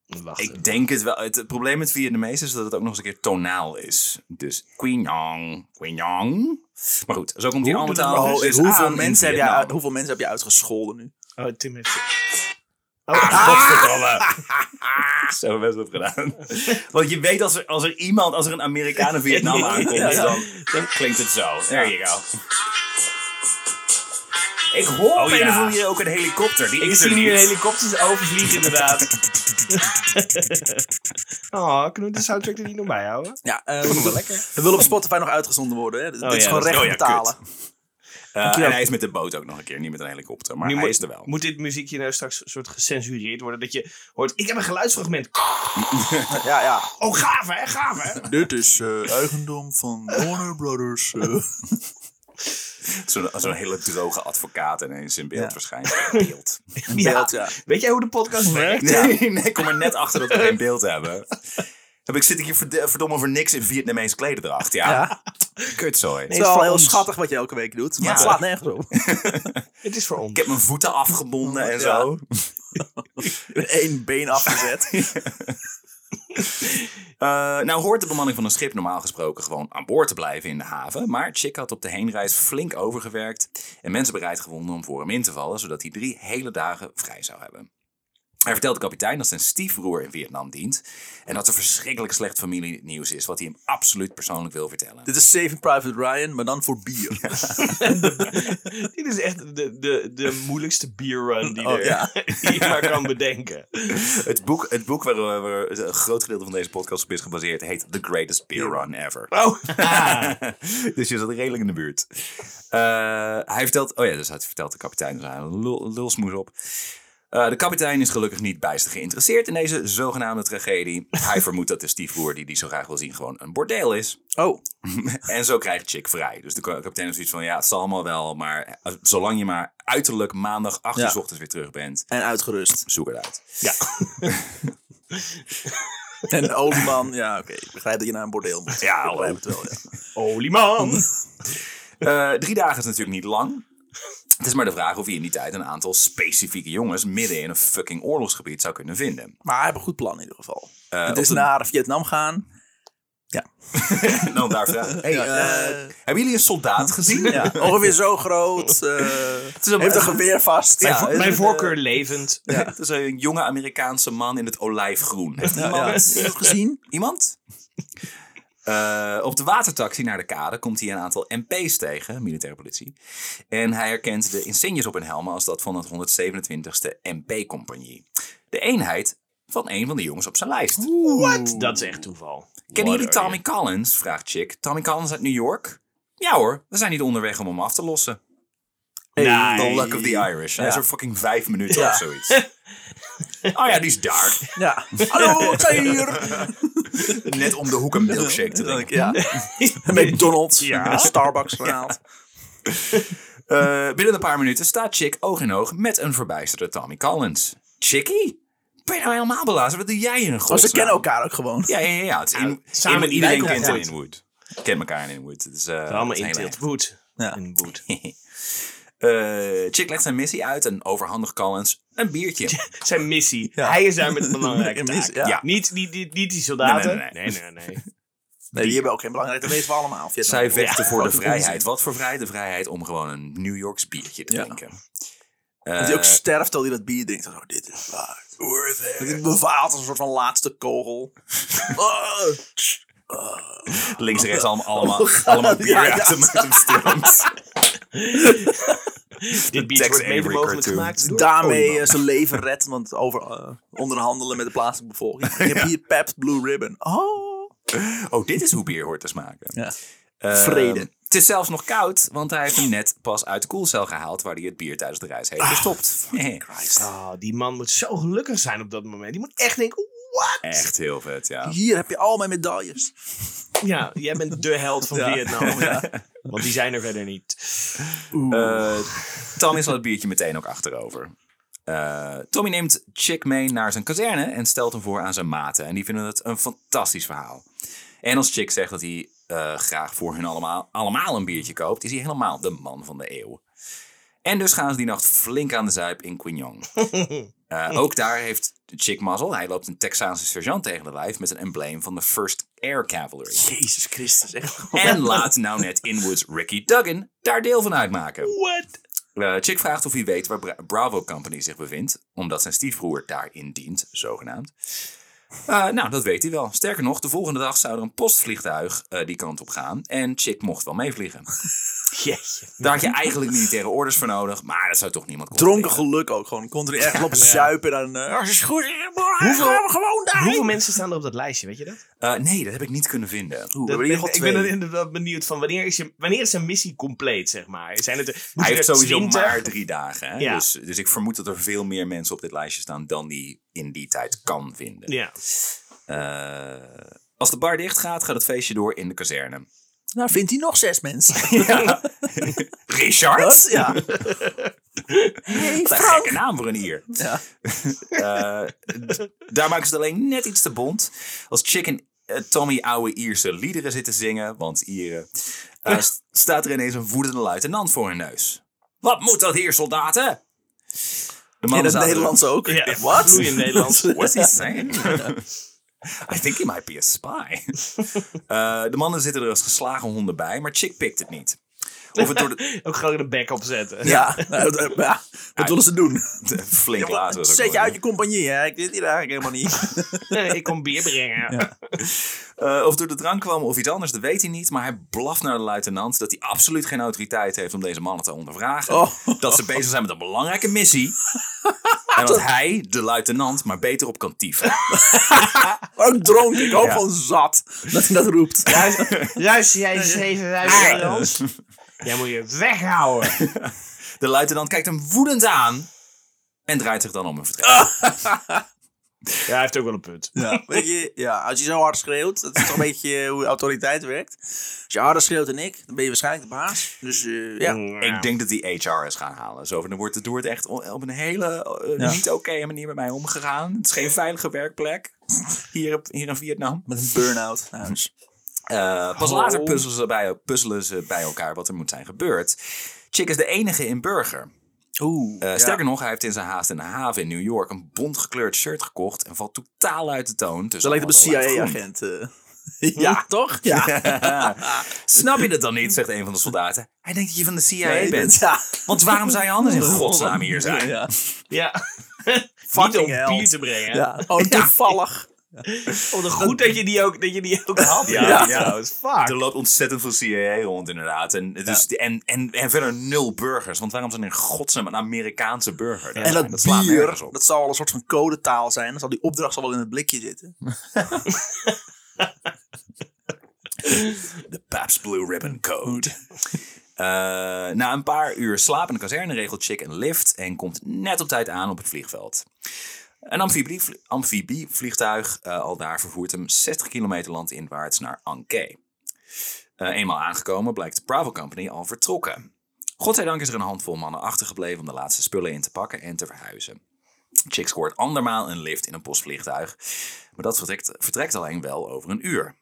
Wacht.
ik denk het wel. Het, het probleem met Vietnamees is dat het ook nog eens een keer tonaal is. Dus Queen Young, Queen Young. Maar goed, zo komt die
Hoe
allemaal
doen we
taal.
dat?
dus aan nou?
hoeveel,
in
mensen heb je,
Vietnam.
uit- hoeveel mensen heb je uitgescholden nu?
Oh, Tim heeft... Oh,
Ah, godverdomme. Ah! Zo hebben we best wat gedaan. Want je weet als er, als er iemand, als er een Amerikaan in Vietnam aankomt,
Ja, ja.
Dan, dan klinkt het zo. There you go. Ik hoor op
Oh,
een of
ja.
andere manier ook een helikopter. Die
Ik
is er
zie nu
niet. Eh,
helikopters overvliegen, inderdaad. Oh, kunnen we de soundtrack er niet nog bij houden?
Ja, eh, we
wel lekker.
Het wil op Spotify nog uitgezonden worden. Hè? Dus Dit
Oh
is
ja,
gewoon
dat
recht
is- oh ja,
betalen.
Eh,
Dankjewel.
en hij is met de boot ook nog een keer, niet met een helikopter. Maar
Nu
hij
moet,
is er wel.
moet dit muziekje nou straks een soort gecensureerd worden? Dat je hoort, ik heb een geluidsfragment.
ja, ja.
Oh, gaaf hè, gaaf hè.
Dit is eigendom van Warner Brothers.
Zo'n zo'n hele droge advocaat ineens in beeld
Ja.
waarschijnlijk. In Beeld.
Ja.
beeld, ja.
Weet jij hoe de podcast werkt?
Nee, nee, ik kom er net achter dat we geen beeld hebben. Heb ik, zit ik hier verd- verdomme voor niks in Vietnamese klederdracht? Ja.
Ja.
Kutzooi.
Het
Nee,
is
voor
wel heel
ons.
schattig wat je elke week doet, maar
Ja.
het slaat nergens op.
Het is voor
Ik
ons.
heb mijn voeten afgebonden
Ja.
en zo.
Eén been afgezet.
Eh, nou hoort de bemanning van een schip normaal gesproken gewoon aan boord te blijven in de haven. Maar Chick had op de heenreis flink overgewerkt en mensen bereid gewonnen om voor hem in te vallen, zodat hij drie hele dagen vrij zou hebben. Hij vertelt de kapitein dat zijn stiefbroer in Vietnam dient en dat er verschrikkelijk slecht familienieuws is, wat hij hem absoluut persoonlijk wil vertellen.
Dit is Saving Private Ryan, maar dan voor bier.
Dit is echt de, de, de moeilijkste bierrun die,
Oh,
er,
ja.
die je maar kan bedenken.
Het boek, het boek waar we- waar we- een groot gedeelte van deze podcast op is gebaseerd heet The Greatest Beer Run Ever.
Oh,
dus je zat redelijk in de buurt. Eh, hij vertelt, oh ja, dus hij vertelt de kapitein dus een lul, lulsmoes op. Eh, de kapitein is gelukkig niet bijster geïnteresseerd in deze zogenaamde tragedie. Hij vermoedt dat de stiefbroer die hij zo graag wil zien gewoon een bordeel is.
Oh,
en zo krijgt Chick vrij. Dus de ka- kapitein is zoiets van, ja, het zal allemaal wel. Maar eh, zolang je maar uiterlijk maandag 8 uur
Ja.
s ochtends weer terug bent,
en uitgerust.
zoek het uit.
ja.
En de olieman, ja oké, ik begrijp dat je naar een bordeel moet.
Ja,
ik begrijp het wel, ja.
Olieman.
Eh, drie dagen is natuurlijk niet lang. Het is maar de vraag of je in die tijd een aantal specifieke jongens midden in een fucking oorlogsgebied zou kunnen vinden.
Maar hij heeft een goed plan in ieder geval.
Eh,
het is
op de-
naar Vietnam gaan.
En dan daar vragen. Hey,
Ja.
eh, hebben jullie een soldaat gezien?
Ja, ongeveer zo groot. eh,
een-
heeft een geweer vast.
Ja,
Ja, eh,
het is
Mijn
een-
voorkeur levend.
Het is een jonge Amerikaanse man in het olijfgroen. Heeft
ja,
iemand,
Iemand gezien?
iemand? Eh, op de watertaxi naar de kade komt hij een aantal MP's tegen, militaire politie. En hij herkent de insignes op hun helmen als dat van het 127e MP-compagnie. De eenheid van een van de jongens op zijn lijst.
What? Dat is echt toeval.
Kennen jullie
What
Tommy
are
Collins? vraagt Chick. Tommy Collins uit New York? Ja hoor, we zijn niet onderweg om hem af te lossen.
Hey.
The luck of the Irish. Hij is
Ja.
er fucking vijf minuten
Ja.
of zoiets. oh ja, die is daar.
Ja. Hallo, ik zijn hier.
Net om de hoek een milkshake te drinken.
Ja. McDonald's.
Ja.
Starbucks gehaald.
Eh, binnen een paar minuten staat Chick oog in oog met een verbijsterde Tommy Collins. Chickie? Ben je nou helemaal belazerd? Wat doe jij hier in
Maar
godsnaam?
Oh, ze kennen elkaar ook gewoon.
Ja, ja, ja. Het is in,
Nou, samen
in-
in
iedereen
Nijkerk.
kent in Inwood. Kent elkaar in Inwood. Het is, eh,
Het Allemaal
het is
in
heel
Tilt Wood.
Ja.
In Wood.
Eh, Chick legt zijn missie uit en overhandigt Collins een biertje.
Zijn missie.
Ja.
Hij is daar met een belangrijke
Een
taak.
missie, ja.
Ja.
Niet, niet, niet, niet die soldaten.
Nee, nee,
nee. nee, nee.
Nee, die hebben ook geen belangrijk. Dat weten we allemaal. Vietnam.
Zij vechten
Ja,
voor de
fucking
vrijheid.
onzin.
Wat voor vrijheid? De vrijheid om gewoon een New Yorks biertje te
Ja.
drinken.
Dat hij ook
Eh,
sterft terwijl hij dat bier drinkt. Dan Zo, dit is waar. Dat hij bevaalt als een soort van laatste kogel. Ah.
links en rechts allemaal, allemaal, allemaal bier
Ja, ja.
uit hem- uit hem stroomt. Tex
Dit biertje wordt mede
Avery
mogelijk
cartoon.
gemaakt door
Daarmee
Olieman.
eh, zijn leven redt, want over, eh, onderhandelen met de plaatselijke bevolking. Ik heb hier Pabst Blue Ribbon. Oh.
Oh, dit is hoe bier hoort te smaken.
Ja.
Eh,
Vrede.
Het is zelfs nog koud, want hij heeft hem net pas uit de koelcel gehaald... waar hij het bier tijdens de reis heeft gestopt.
Ah, die man moet zo gelukkig zijn op dat moment. Die moet echt denken, what?
Echt heel vet, ja.
Hier heb je al mijn medailles.
Ja, jij bent de held van
Ja.
Vietnam. Want die zijn er verder niet.
Eh Tommy slaat het biertje meteen ook achterover. Eh, Eh, Tommy neemt Chick mee naar zijn kazerne en stelt hem voor aan zijn maten. En die vinden het een fantastisch verhaal. En als Chick zegt dat hij eh, graag voor hun allemaal, allemaal een biertje koopt, is hij helemaal de man van de eeuw. En dus gaan ze die nacht flink aan de zuip in Quignon. Eh, ook daar heeft Chick mazzel. Hij loopt een Texaanse sergeant tegen de lijf met een embleem van de First Air Cavalry.
Jezus Christus, echt.
En laat nou net Inwood's Ricky Duggan daar deel van uitmaken.
What?
Eh, Chick vraagt of hij weet waar Bra- Bravo Company zich bevindt, omdat zijn stiefbroer daarin dient, zogenaamd. Eh, nou, dat weet hij wel. Sterker nog, de volgende dag zou er een postvliegtuig eh, die kant op gaan en Chick mocht wel meevliegen.
Jeetje.
Daar had je eigenlijk militaire orders voor nodig, maar dat zou toch niemand
Dronken
controleren.
geluk ook gewoon. Kon er echt op zuipen en dan... eh, als is goed, hoeveel, gaan we gewoon daarheen.
Hoeveel mensen staan er op dat lijstje, weet je dat?
Eh, nee, dat heb ik niet kunnen vinden.
Oeh, we
Dat
hebben in
ben-
ieder geval
ik
twee.
ben er inderdaad benieuwd van wanneer is, je, wanneer is een missie compleet, zeg maar? Zijn het, er-
Hij
moeten
heeft
er
sowieso
20?
maar drie dagen. Hè?
Ja.
Dus, dus ik vermoed dat er veel meer mensen op dit lijstje staan dan die in die tijd kan vinden.
Ja.
Eh, als de bar dicht gaat, gaat het feestje door in de kazerne.
Nou, vindt hij nog zes mensen.
Richard?
Wat? Ja. hey,
Wat een
Frank.
gekke naam voor een hier.
Ja.
Eh, d- daar maken ze het alleen net iets te bond. Als Chick en eh, Tommy oude Ierse liederen zitten zingen, want Ieren, eh, st- staat er ineens een woedende luitenant voor hun neus. Wat moet dat hier, soldaten? De
In het
zaten-
Nederlands ook.
Ja,
Wat?
vloeiend Nederlands.
What's he saying? I think he might be a spy. Eh, de mannen zitten er als geslagen honden bij, maar Chick pikt het niet. Of het door de...
Ook gewoon een bek opzetten.
Ja, nou, dat- ja, wat willen ze doen?
de- flink later. was ook
Zet je
wel-
uit je compagnie, hè? Ik weet hier eigenlijk helemaal niet.
ik kom bier brengen.
Eh, of het door de drank kwam of iets anders, dat weet hij niet. Maar hij blaft naar de luitenant dat hij absoluut geen autoriteit heeft om deze mannen te ondervragen.
Oh.
Dat ze bezig zijn met een belangrijke missie. en dat hij, de luitenant, maar beter op kan tieven.
Maar ook dronken, ik hoop
Ja.
van zat dat hij dat roept.
Luister jij eens even naar Nederlands? dus Jij moet je weghouden.
De luitenant kijkt hem woedend aan en draait zich dan om en vertrekt.
Ah.
Ja, hij heeft ook wel een punt.
Ja, weet je, ja, als je zo hard schreeuwt, dat is toch een beetje hoe autoriteit werkt. Als je harder schreeuwt dan ik, dan ben je waarschijnlijk de baas. Dus eh, ja.
Mm,
Ik denk dat die HR is gaan halen. Zo, van, er wordt, er wordt echt o- op een hele eh,
Ja.
niet oké manier met mij omgegaan. Het is geen veilige werkplek hier, op, hier in Vietnam.
Met een burn-out. Nou, dus-
Eh, pas
Oh.
later puzzelen ze, bij, puzzelen ze bij elkaar wat er moet zijn gebeurd. Chick is de enige in Burger.
Oeh.
Eh,
ja.
Sterker nog, hij heeft in zijn haast in de haven in New York een bontgekleurd shirt gekocht en valt totaal uit de toon. Dus
dat lijkt op een CIA-agent. eh. ja, toch? Ja.
Snap je dat dan niet, zegt een van de soldaten. Hij denkt dat je van de CIA
Ja, je
bent.
bent- Ja.
Want waarom zou je anders in godsnaam hier zijn?
Ja.
Ja. Niet
Fucking
om
hell.
bier te brengen.
Ja. Oh, toevallig.
Oh, dan goed dat je die ook, dat je die ook had.
Ja,
ja.
ja.
trouwens. Fuck.
Er loopt ontzettend veel CIA rond, inderdaad. En, dus, en, en, en verder nul burgers. Want waarom zijn er in godsnaam een Amerikaanse burger?
En dat,
slaat
bier,
nergens op.
dat zal een soort van codetaal zijn. Dan zal die opdracht zal wel in het blikje zitten.
De Pabst Blue Ribbon Code. Eh, na een paar uur slaap in de kazerne regelt Chick een lift en komt net op tijd aan op het vliegveld. Een amfibie, amfibievliegtuig eh, al daar vervoert hem 60 kilometer landinwaarts naar Anke. Eh, eenmaal aangekomen blijkt de Bravo Company al vertrokken. Godzijdank is er een handvol mannen achtergebleven om de laatste spullen in te pakken en te verhuizen. Chick scoort andermaal een lift in een postvliegtuig, maar dat vertrekt, vertrekt alleen wel over een uur.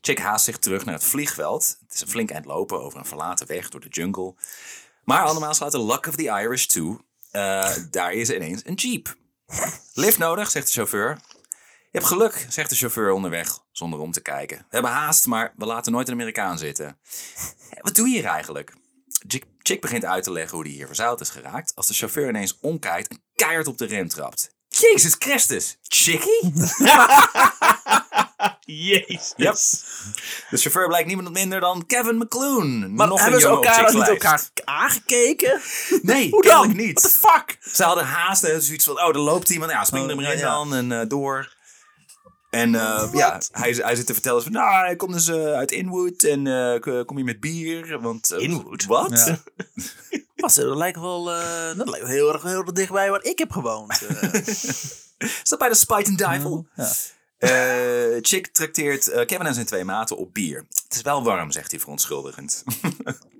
Chick haast zich terug naar het vliegveld. Het is een flink eind lopen over een verlaten weg door de jungle. Maar andermaal slaat de luck of the Irish toe. Eh, daar is ineens een jeep. Lift nodig, zegt de chauffeur. Je hebt geluk, zegt de chauffeur onderweg, zonder om te kijken. We hebben haast, maar we laten nooit een Amerikaan zitten. "Hé, Wat doe je hier eigenlijk? Chick, Chick begint uit te leggen hoe hij hier verzuild is geraakt. Als de chauffeur ineens omkijkt en keihard op de rem trapt. Jezus Christus, Chickie?
Jezus.
Yep. De chauffeur blijkt niemand minder dan Kevin McCloon.
Maar
nog een
hebben ze
jongen op
elkaar
Chick's
ook niet
lijst.
elkaar aangekeken?
Nee,
Hoe dan?
kennelijk
What the
niet.
fuck?
Ze hadden haast en zoiets van, oh, er loopt iemand. Ja, spring
Oh,
er maar
ja,
in
ja. Oh,
dan en eh, door. En eh, ja, hij, hij zit te vertellen van, nou, hij komt dus eh, uit Inwood en eh, k- kom je met bier, want... eh,
Inwood?
Wat?
Ja. Wat, dat lijkt wel eh, dat lijkt wel heel erg heel erg dichtbij waar ik heb gewoond. eh.
Is dat bij de Spite and Dival?
Ja.
Eh, Chick trakteert eh, Kevin en zijn twee maten op bier. Het is wel warm, zegt hij verontschuldigend.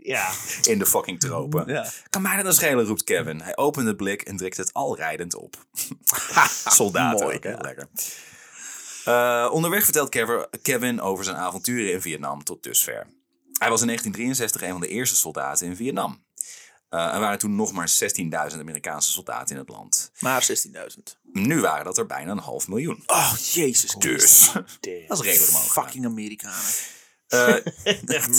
Ja.
In de fucking tropen.
Ja.
Kan mij dat dan schelen, roept Kevin. Hij opent de blik en drukt het al rijdend op. Ha, Soldaat
Mooi,
ook, hè?
ja.
Lekker. Eh, onderweg vertelt Kev- Kevin over zijn avonturen in Vietnam tot dusver. Hij was in 1963 een van de eerste soldaten in Vietnam. Eh, er waren toen nog maar 16.000 Amerikaanse soldaten in het land.
Maar 16.000.
Nu waren dat er bijna een half miljoen.
Oh, jezus.
Dus, dat is redelijk omhoog. gegaan.
Fucking Amerikanen.
Eh,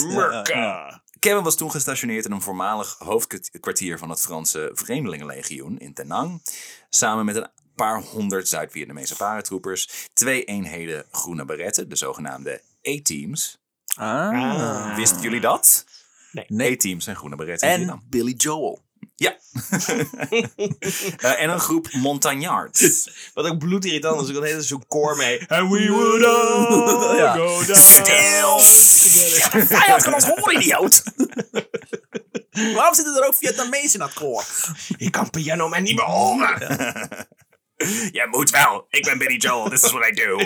Merka.
Kevin was toen gestationeerd in een voormalig hoofdkwartier van het Franse Vreemdelingenlegioen in Tenang. Samen met een paar honderd Zuid-Vietnamese paratroepers, twee eenheden groene beretten, de zogenaamde A-teams.
Ah.
Wisten jullie dat?
Nee.
A-teams zijn groene beretten in Vietnam.
En Billy Joel.
Ja. Eh, en een groep Montagnards.
Wat ook bloedirritant is. Ik had hele zo'n koor mee. And we would all
Ja.
go down.
Stil!
De vijand kan ons horen, idioot. Waarom zitten er ook Vietnamezen in dat koor?
Ik kan piano maar niet meer horen.
Jij moet wel. Ik ben Billy Joel. This is what I do.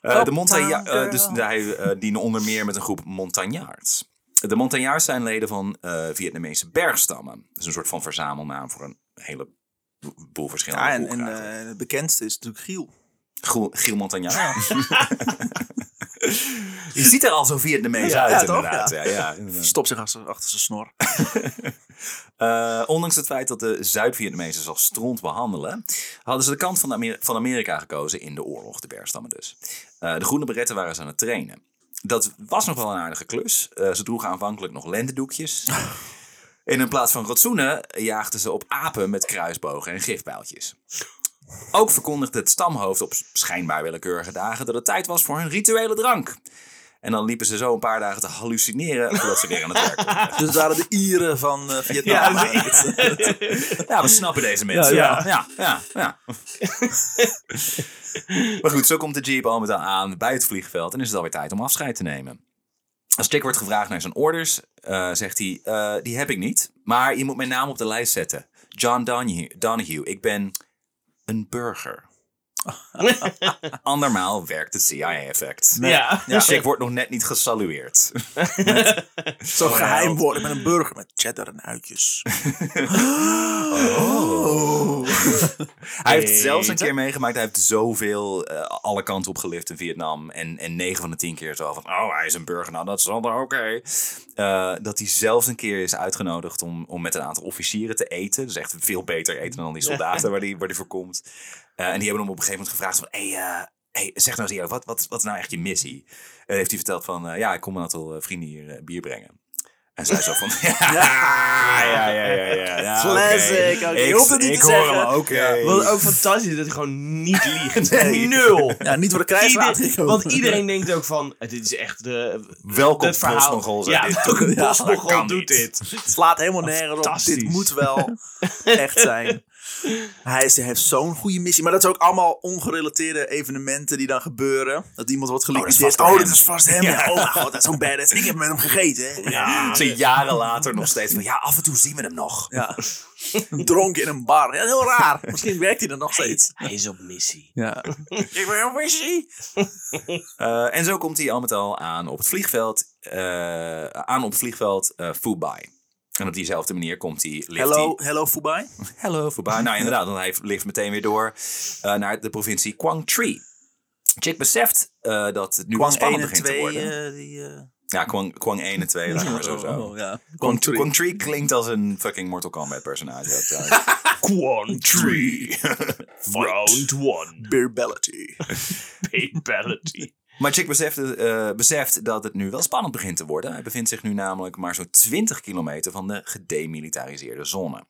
Eh, de Montagna
Uptown
eh, dus
Girl.
hij eh, dienen onder meer met een groep Montagnards. De Montagnards zijn leden van eh, Vietnamese bergstammen. Dat is een soort van verzamelnaam voor een heleboel verschillende
Ja, en, en
groepen eigenlijk.
eh, het bekendste is natuurlijk Giel.
Groe- Giel Montagnard. Je ziet er al zo Vietnamees
Ja,
uit,
ja, toch?
inderdaad. Ja, ja, inderdaad.
Stopt zich achter, achter zijn snor.
Eh, ondanks het feit dat de Zuid-Vietnamezen als stront behandelen, hadden ze de kant van, de Amer- van Amerika gekozen in de oorlog, de bergstammen dus. Eh, de groene beretten waren ze aan het trainen. Dat was nog wel een aardige klus. Eh, ze droegen aanvankelijk nog lentedoekjes. En in plaats van rotsoenen jaagden ze op apen met kruisbogen en gifpijltjes. Ook verkondigde het stamhoofd op schijnbaar willekeurige dagen dat het tijd was voor hun rituele drank. En dan liepen ze zo een paar dagen te hallucineren voordat ze weer aan het werk waren.
Dus het waren de Ieren van eh, Vietnam.
Ja, dus
Ja, we snappen deze mensen. Ja,
Ja,
ja, ja. ja. maar goed, zo komt de jeep al met al aan bij het vliegveld en is het alweer tijd om afscheid te nemen. Als Jack wordt gevraagd naar zijn orders, eh, zegt hij, eh, die heb ik niet, maar je moet mijn naam op de lijst zetten. John Donahue, Donahue. ik ben een burger. Andermaal werkt het CIA-effect.
Ja.
Ja. Jack wordt nog net niet gesalueerd.
Zo geheim worden met een burger met cheddar en uitjes.
Hij heeft het zelfs een
Eten.
keer meegemaakt. Hij heeft zoveel eh, alle kanten op gelift in Vietnam. En, en 9 van de 10 keer zo van... Oh, hij is een burger. Nou, dat is dan oké. Eh, dat hij zelfs een keer is uitgenodigd om, om met een aantal officieren te eten. Dus echt veel beter eten dan die soldaten waar die, waar die voor komt. Eh, en die hebben hem op een gegeven moment gevraagd van... Hey, eh, hey, zeg nou eens eerlijk, wat, wat, wat is nou echt je missie? En heeft hij verteld van... eh, ja, ik kom een aantal eh, vrienden hier eh, bier brengen. En zij zo van... Ja, ja, ja, ja. ja, ja oké.
Classic, oké. Je
Ik,
hoeft het niet
ik
te
hoor
zeggen.
hem, oké.
Wat ook fantastisch is dat hij gewoon niet liegt.
Nee.
Nul.
Ja, niet voor de krijgsraad.
Ieder- want iedereen denkt ook van, dit is echt de,
Welkom
het verhaal.
Postmongol, zei
ja,
dit.
welke
Ja,
Postmongol
dat kan
doet
niet.
dit.
Het slaat helemaal nergens op.
Fantastisch.
Dit moet wel echt zijn. Hij, is, hij heeft zo'n goede missie. Maar dat is ook allemaal ongerelateerde evenementen die dan gebeuren. Dat iemand wordt
dat is
geliquideerd.
vast
Oh,
hem.
dit is vast hem. Ja. Oh, mijn god, dat is zo'n badass. Ik heb met hem gegeten. hè.
Ja, ze jaren later nog steeds van ja, af en toe zien we hem nog.
Ja. Dronken in een bar. Ja, heel raar. Misschien werkt hij dan nog steeds.
Hij is op missie.
Ja.
Ik ben een wishy. Eh, en zo komt hij al met al aan op het vliegveld, eh, aan op het vliegveld eh Fubai. En op diezelfde manier komt hij. lift
Hello,
hij-
hello Fubai.
Hello, Fubai. Nou, inderdaad, want hij ligt meteen weer door eh, naar de provincie Quang Tri. Chick beseft eh, dat het nu wel
Kwang 1
spannend
en
begint te
2.
worden.
eh, die, eh,
Ja, Kwang, Kwang 1 en 2, laten we maar zo zo.
oh, ja. Kwang
Quang Tri.
Tri.
Quang Tri klinkt als een fucking Mortal Kombat personage. ook trouwens.
Quant Round 1.
Beerbellity.
Fatality.
Maar Chick beseft, eh, beseft dat het nu wel spannend begint te worden. Hij bevindt zich nu namelijk maar zo'n 20 kilometer van de gedemilitariseerde zone.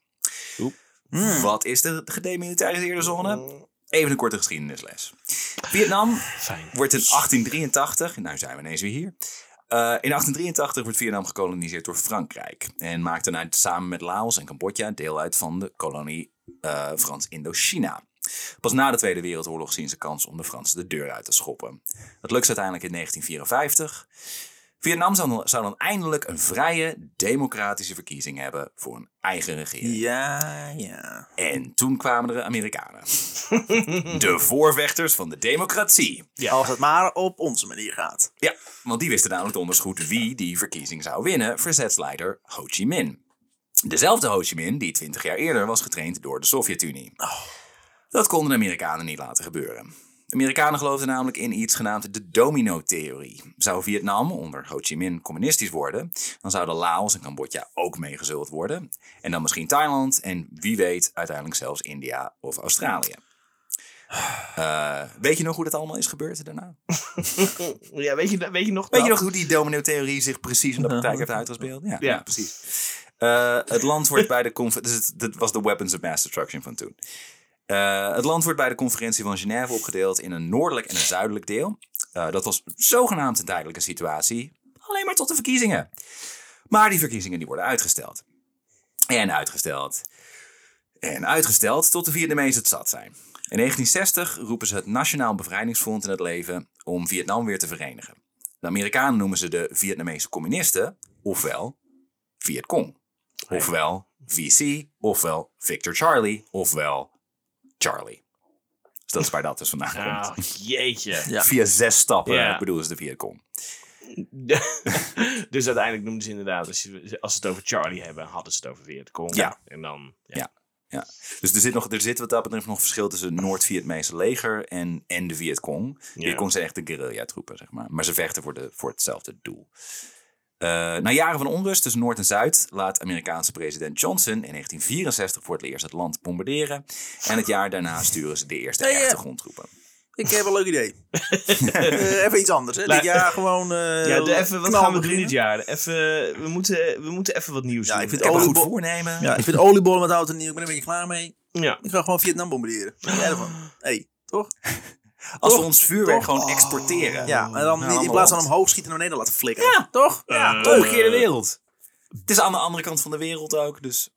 Wat is de gedemilitariseerde zone? Even een korte geschiedenisles. Vietnam
Fijn.
wordt in 1883, nou zijn we ineens weer hier. Eh, in 1883 wordt Vietnam gekoloniseerd door Frankrijk. En maakt daarna samen met Laos en Cambodja deel uit van de kolonie eh, Frans-Indochina. Pas na de Tweede Wereldoorlog zien ze kans om de Fransen de deur uit te schoppen. Dat lukt ze uiteindelijk in 1954. Vietnam zou dan, zou dan eindelijk een vrije, democratische verkiezing hebben voor een eigen regering.
Ja, ja.
En toen kwamen de Amerikanen. de voorvechters van de democratie.
Als het maar op onze manier gaat.
Ja, want die wisten namelijk donders goed wie die verkiezing zou winnen, verzetsleider Ho Chi Minh. Dezelfde Ho Chi Minh die 20 jaar eerder was getraind door de Sovjet-Unie. Dat konden de Amerikanen niet laten gebeuren. De Amerikanen geloofden namelijk in iets genaamd de domino-theorie. Zou Vietnam onder Ho Chi Minh communistisch worden, dan zouden Laos en Cambodja ook meegezult worden. En dan misschien Thailand en wie weet uiteindelijk zelfs India of Australië. Eh, weet je nog hoe dat allemaal is gebeurd daarna?
Ja, weet je, weet je nog
Weet
dat?
je nog hoe die domino-theorie zich precies in de praktijk heeft uitgespeeld? Ja, ja. precies. Eh, het land wordt bij de conferentie... Dus het- dit was de Weapons of Mass Destruction van toen. Eh, het land wordt bij de conferentie van Genève opgedeeld in een noordelijk en een zuidelijk deel. Eh, dat was zogenaamd een tijdelijke situatie. Alleen maar tot de verkiezingen. Maar die verkiezingen die worden uitgesteld. En uitgesteld. En uitgesteld tot de Vietnamezen het zat zijn. In 1960 roepen ze het Nationaal Bevrijdingsfront in het leven om Vietnam weer te verenigen. De Amerikanen noemen ze de Vietnamese communisten, ofwel Vietcong. Ofwel VC, ofwel Victor Charlie, ofwel Charlie. Dus dat is waar dat dus vandaan komt.
Nou, jeetje.
ja.
Via zes stappen
Ja.
eh, bedoelen ze de Vietcong.
dus uiteindelijk noemden ze inderdaad, als, je, als ze het over Charlie hebben, hadden ze het over Vietcong.
Ja.
En dan, ja.
Ja. Ja. Dus er zit, nog, er zit wat dat betreft nog verschil tussen het Noord-Vietnamese leger en, en de Vietcong.
Ja.
Vietcong zijn echt de guerrilla-troepen, zeg maar. Maar ze vechten voor, de, voor hetzelfde doel. Eh, na jaren van onrust tussen Noord en Zuid laat Amerikaanse president Johnson in 1964 voor het eerst het land bombarderen. En het jaar daarna sturen ze de eerste
Hey, eh.
echte grondtroepen.
Ik heb een leuk idee. Eh, even iets anders. Hè. Dit jaar gewoon. eh,
Ja, de, even, wat
knal
gaan we doen
beginnen.
dit jaar? Even, we, moeten, we moeten even wat nieuws
Ja,
doen.
ik vind
Ik heb een goed
oliebo-
voornemen.
Ja, ik vind oliebollen met hout en nieuw. Ik ben er een beetje klaar mee.
Ja.
Ik ga gewoon Vietnam bombarderen. Wat vind jij ervan? hey, toch?
Als we
Toch?
ons vuurwerk
Toch?
gewoon exporteren.
Ja, en dan niet, in
allemaal
plaats van
land.
omhoog schieten naar beneden laten flikkeren.
Ja, toch?
Eh,
de omgekeerde wereld. Het is aan de andere kant van de wereld ook, dus...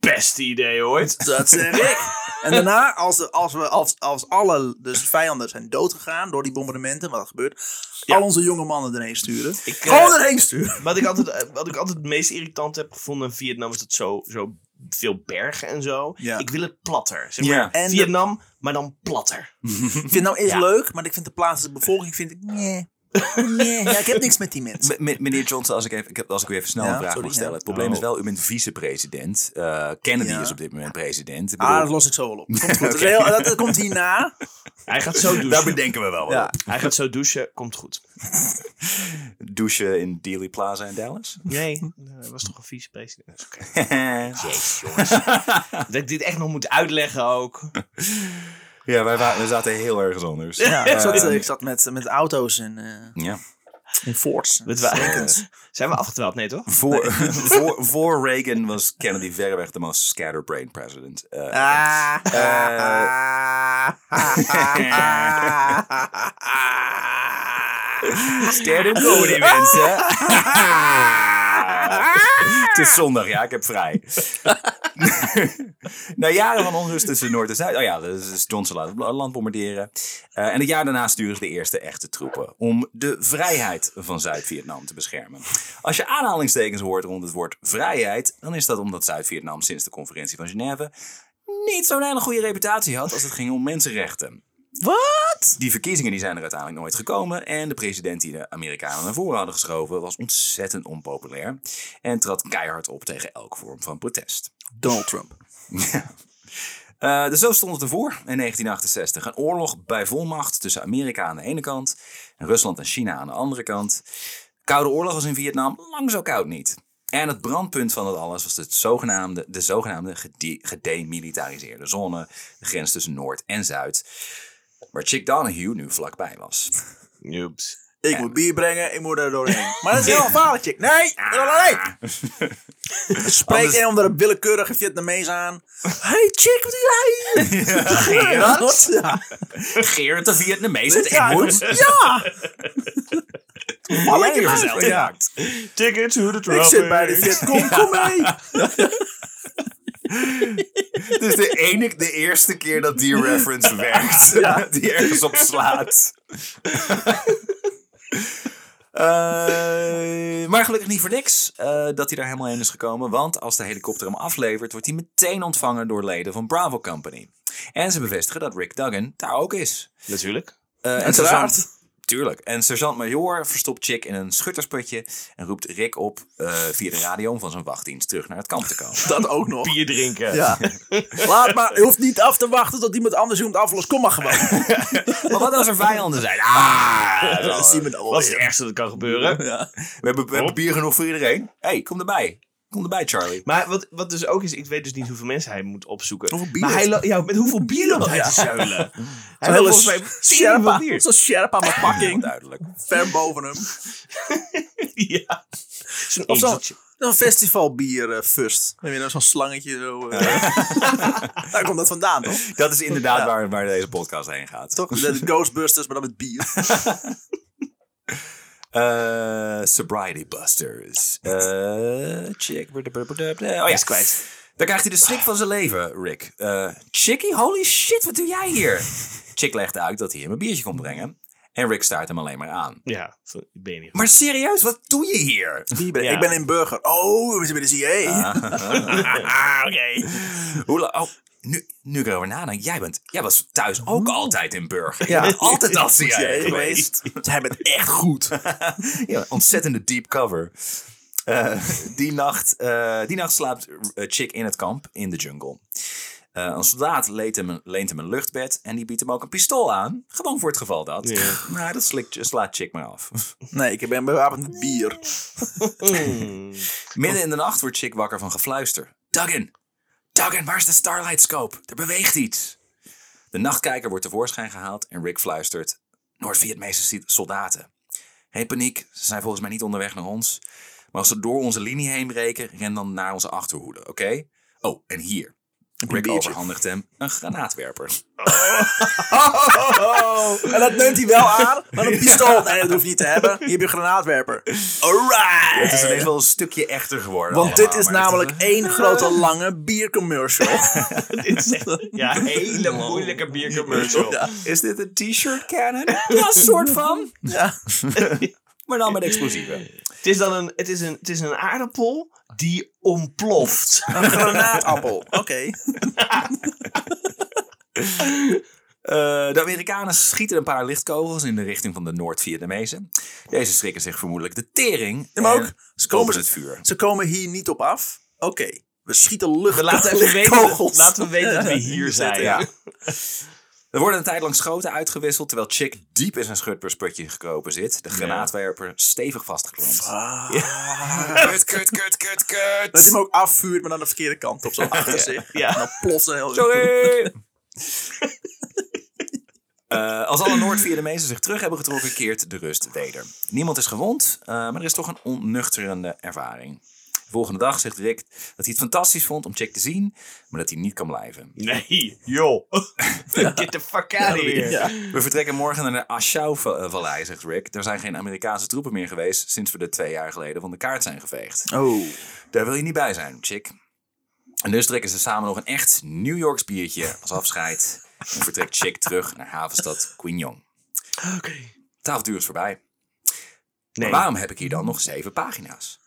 Beste idee ooit.
Dat zeg ik. En daarna, als, de- als, we, als, als alle dus vijanden zijn doodgegaan door die bombardementen, wat er gebeurt, al onze jonge mannen erheen sturen.
Ik, eh,
Gewoon erheen sturen.
Wat ik altijd, eh, wat ik altijd het meest irritant heb gevonden in Vietnam is dat zo, zo veel bergen en zo.
Ja.
Ik wil het platter. Zeg
Ja.
maar.
En de-
Vietnam, maar dan platter.
Vietnam is
Ja.
nou leuk, maar ik vind de plaatselijke bevolking vind ik. Nee. Nee. Ja, ik heb niks met die mensen.
M- m- meneer Johnson, als ik, even, ik heb- als ik u even snel
Ja,
een vraag
sorry,
mag
ja.
stellen. Het probleem
Oh.
is wel, u bent vicepresident. Eh, Kennedy
Ja.
is op dit moment president. Ik
Ah, dat
bedoel,
los ik zo wel op. Komt goed. Dat, is heel- dat- dat komt hierna.
Hij gaat zo douchen.
daar bedenken we wel wat
Ja.
op.
Hij gaat zo douchen, komt goed.
Douchen in Dealey Plaza in Dallas.
Nee, hij was toch een vicepresident. Dat is oké.
Jezus, jongens.
Dat ik dit echt nog moet uitleggen ook.
ja, wij, wa- we zaten heel ergens anders.
Ja, ik, zat,
Eh,
ik zat met, met auto's en, eh
ja.
en Fords.
Dat we- zijn we afgetwaald? Nee, toch?
Voor, voor, voor Reagan was Kennedy verreweg de most scatterbrained president. Eh,
Ah, ah,
Eh.
ah, ah, ah,
Ster hem door, Oh, die mensen. Het is zondag, ja, ik heb vrij. Na jaren van onrust tussen Noord en Zuid. Oh ja, dat is Johnson laat het land bombarderen. Eh, en het jaar daarna sturen ze de eerste echte troepen. om de vrijheid van Zuid-Vietnam te beschermen. Als je aanhalingstekens hoort rond het woord vrijheid. dan is dat omdat Zuid-Vietnam sinds de conferentie van Genève. niet zo'n hele goede reputatie had als het ging om mensenrechten.
Wat?
Die verkiezingen die zijn er uiteindelijk nooit gekomen. En de president die de Amerikanen naar voren hadden geschoven was ontzettend onpopulair. En trad keihard op tegen elke vorm van protest.
Donald Trump.
Eh, dus zo stond het ervoor in 1968. Een oorlog bij volmacht tussen Amerika aan de ene kant en Rusland en China aan de andere kant. Koude oorlog was in Vietnam lang zo koud niet. En het brandpunt van dat alles was het zogenaamde, de zogenaamde gede- gedemilitariseerde zone, de grens tussen Noord en Zuid, waar Chick Donahue nu vlakbij was.
Joeps.
Ik moet bier brengen, ik moet daar doorheen. Maar dat is heel gevaarlijk, chick. Nee, nee, nee. Spreek
Anders-
in onder een willekeurige Vietnamees aan. Hey chick, wat doe jij? Gerard? Ja.
Geert de Vietnamees het
Ja,
Engels.
Ja. Val ik
Ja,
er
zelf
zelf ja.
gemaakt.
Tickets to the
Ik zit bij de
tropics.
Vietcong, kom mee.
Dus de, enige, de eerste keer dat die reference werkt, die ergens op slaat. Eh, maar gelukkig niet voor niks eh, dat hij daar helemaal heen is gekomen. Want als de helikopter hem aflevert, wordt hij meteen ontvangen door leden van Bravo Company. En ze bevestigen dat Rick Duggan daar ook is.
Natuurlijk.
Eh, en
Uiteraard.
sergeant- Tuurlijk. En sergeant-major verstopt Chick in een schuttersputje en roept Rick op eh, via de radio van zijn wachtdienst terug naar het kamp te komen.
Dat ook nog.
Bier drinken.
Ja. Laat maar, je hoeft niet af te wachten tot iemand anders je moet aflossen. Kom maar gewoon.
Maar wat als er vijanden zijn? Ah,
Dat zien we dan wel
Dat is het
weer.
ergste dat kan gebeuren.
Ja.
We hebben, we hebben bier genoeg voor iedereen. Hé, hey, kom erbij. Kom erbij, Charlie.
Maar wat, wat dus ook is, ik weet dus niet hoeveel mensen hij moet opzoeken.
Hoeveel bier?
Maar hij lo- ja, met hoeveel bier loopt hij
Ja.
te zuilen? Hij loopt
Hele
volgens mij
Sherpa.
tien bier.
Zo'n Sherpa met
Heel
pakking.
Duidelijk.
Ver boven hem.
Ja. Zo'n
Of zo'n
ezeltje.
zo'n festivalbier eh, first. Dan heb je nou zo'n slangetje zo. eh. Daar komt dat vandaan toch?
Dat is inderdaad waar, waar deze podcast heen gaat.
Toch? De Ghostbusters, maar dan met bier.
Eh, sobriety Busters. Eh, chick. Oh
Hij
ja,
is kwijt.
Daar krijgt hij de schrik van zijn leven, Rick. Eh Chickie, holy shit, wat doe jij hier? Chick legt uit dat hij hem een biertje komt brengen. En Rick staart hem alleen maar aan.
Ja, van- ik ben je niet.
Maar serieus, wat doe je hier?
Ja.
Ik ben in Burger. Oh, we zijn bij de CIA.
Ah, oké.
Hoe la- oh, nu, nu ik erover nadenk, jij, bent, jij was thuis ook altijd in Burger.
Ja.
Ja. altijd al
Is
CIA
jij
geweest.
Zij bent echt goed.
ja, ontzettende deep cover. Eh, die, nacht, eh, die nacht slaapt eh, Chick in het kamp in de jungle. Eh, een soldaat leent hem, een- leent hem een luchtbed en die biedt hem ook een pistool aan. Gewoon voor het geval dat.
Ja.
Maar dat slikt, slaat Chick maar af.
Nee, ik ben bewapend met bier.
Hmm.
Midden in de nacht wordt Chick wakker van gefluister. Duggan! Duggan, waar is de Starlight Scope? Er beweegt iets! De nachtkijker wordt tevoorschijn gehaald en Rick fluistert... Noord-Vietnamese si- soldaten. Geen paniek, ze zijn volgens mij niet onderweg naar ons. Maar als ze door onze linie heen breken, ren dan naar onze achterhoede, oké? Oh, en hier. Rick
biertje.
overhandigt hem een granaatwerper.
Oh, En dat neemt hij wel aan, maar een pistool. Nee, dat hoeft niet te hebben. Hier heb je een granaatwerper.
Het is
Alright!
ineens wel een stukje echter geworden.
Want dit
allemaal,
is
maar het
namelijk
een-
één grote lange biercommercial.
Dit is echt- ja, hele moeilijke biercommercial.
Ja.
Is dit een t-shirt cannon? Ja, soort van.
Ja.
Maar dan met explosieven.
Het is dan een, het is een, het is een aardappel die ontploft.
Een granaatappel. Oké.
Eh, de Amerikanen schieten een paar lichtkogels in de richting van de Noord-Vietnamezen. Deze schrikken zich vermoedelijk de tering.
Ja, maar ook,
en
ze
komen
komen,
het vuur.
ze komen hier niet op af. Oké. We schieten lucht.
We laten even weten,
kogels.
laten we weten dat we hier zijn.
Ja. Er worden een tijd lang schoten uitgewisseld, terwijl Chick diep in zijn schutpersputje gekropen zit. De granaatwerper stevig vastgeklampt.
Ah.
Kut, kut, kut,
Dat hij
kut, kut.
hem ook afvuurt, maar dan de verkeerde kant op. Zo achter zich.
Ja.
En dan plots een heel...
Sorry. Eh, als alle Noord-Vietnamezen zich terug hebben getrokken, keert de rust weder. Niemand is gewond, eh, maar er is toch een onnuchterende ervaring. De volgende dag zegt Rick dat hij het fantastisch vond om Chick te zien, maar dat hij niet kan blijven.
Nee, joh. Get the fuck out of here.
Ja.
We vertrekken morgen naar de Ashau-vallei, zegt Rick. Er zijn geen Amerikaanse troepen meer geweest sinds we er twee jaar geleden van de kaart zijn geveegd.
Oh.
Daar wil je niet bij zijn, chick. En dus drinken ze samen nog een echt New Yorks biertje als afscheid. En vertrekt Chick terug naar havenstad Quignon.
Oké.
Twaalf uur is voorbij. Maar
Nee.
waarom heb ik hier dan nog zeven pagina's?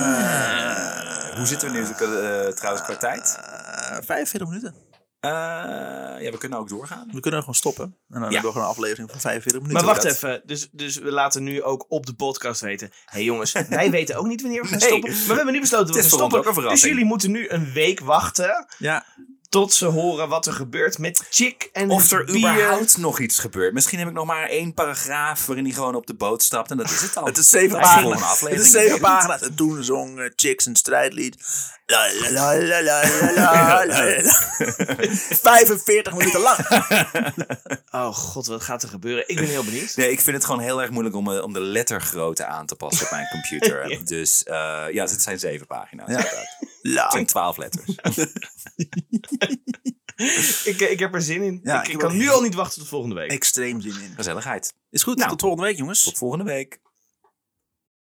Eh, hoe zitten we nu eh, trouwens qua tijd?
Eh, 45 minuten.
Eh, ja, we kunnen ook doorgaan.
We kunnen gewoon stoppen. En dan hebben we gewoon een aflevering van 45 minuten.
Maar wacht
dat-
even, dus, dus we laten nu ook op de podcast weten. Hé hey jongens, wij weten ook niet wanneer we gaan
Nee.
stoppen. Maar we hebben nu besloten dat we
Het
gaan
is voor ons ook een
stoppen. Dus
verrassing.
jullie moeten nu een week wachten
Ja.
tot ze horen wat er gebeurt met Chick en
Of
het
er
bier.
überhaupt nog iets gebeurt. Misschien heb ik nog maar één paragraaf waarin hij gewoon op de boot stapt en dat is het al.
Het is zeven
Hij is gewoon een
pagina's.
aflevering,
Het is
ik weet
zeven
het niet.
pagina's. En toen zong eh, Chicks een strijdlied. La, la, la, la, la, la, la, la, la. 45 minuten lang.
Oh god, wat gaat er gebeuren? Ik ben heel benieuwd.
Nee, ik vind het gewoon heel erg moeilijk om, eh, om de lettergrootte aan te passen op mijn computer.
Ja.
Dus eh, ja, het zijn zeven pagina's. inderdaad. Het
La.
zijn twaalf letters.
Ik, ik heb er zin in.
Ja,
ik,
ik
ik kan
word-
nu al niet wachten tot volgende week.
Extreem zin in.
Gezelligheid.
Is goed.
Nou.
Tot volgende week, jongens.
Tot volgende week.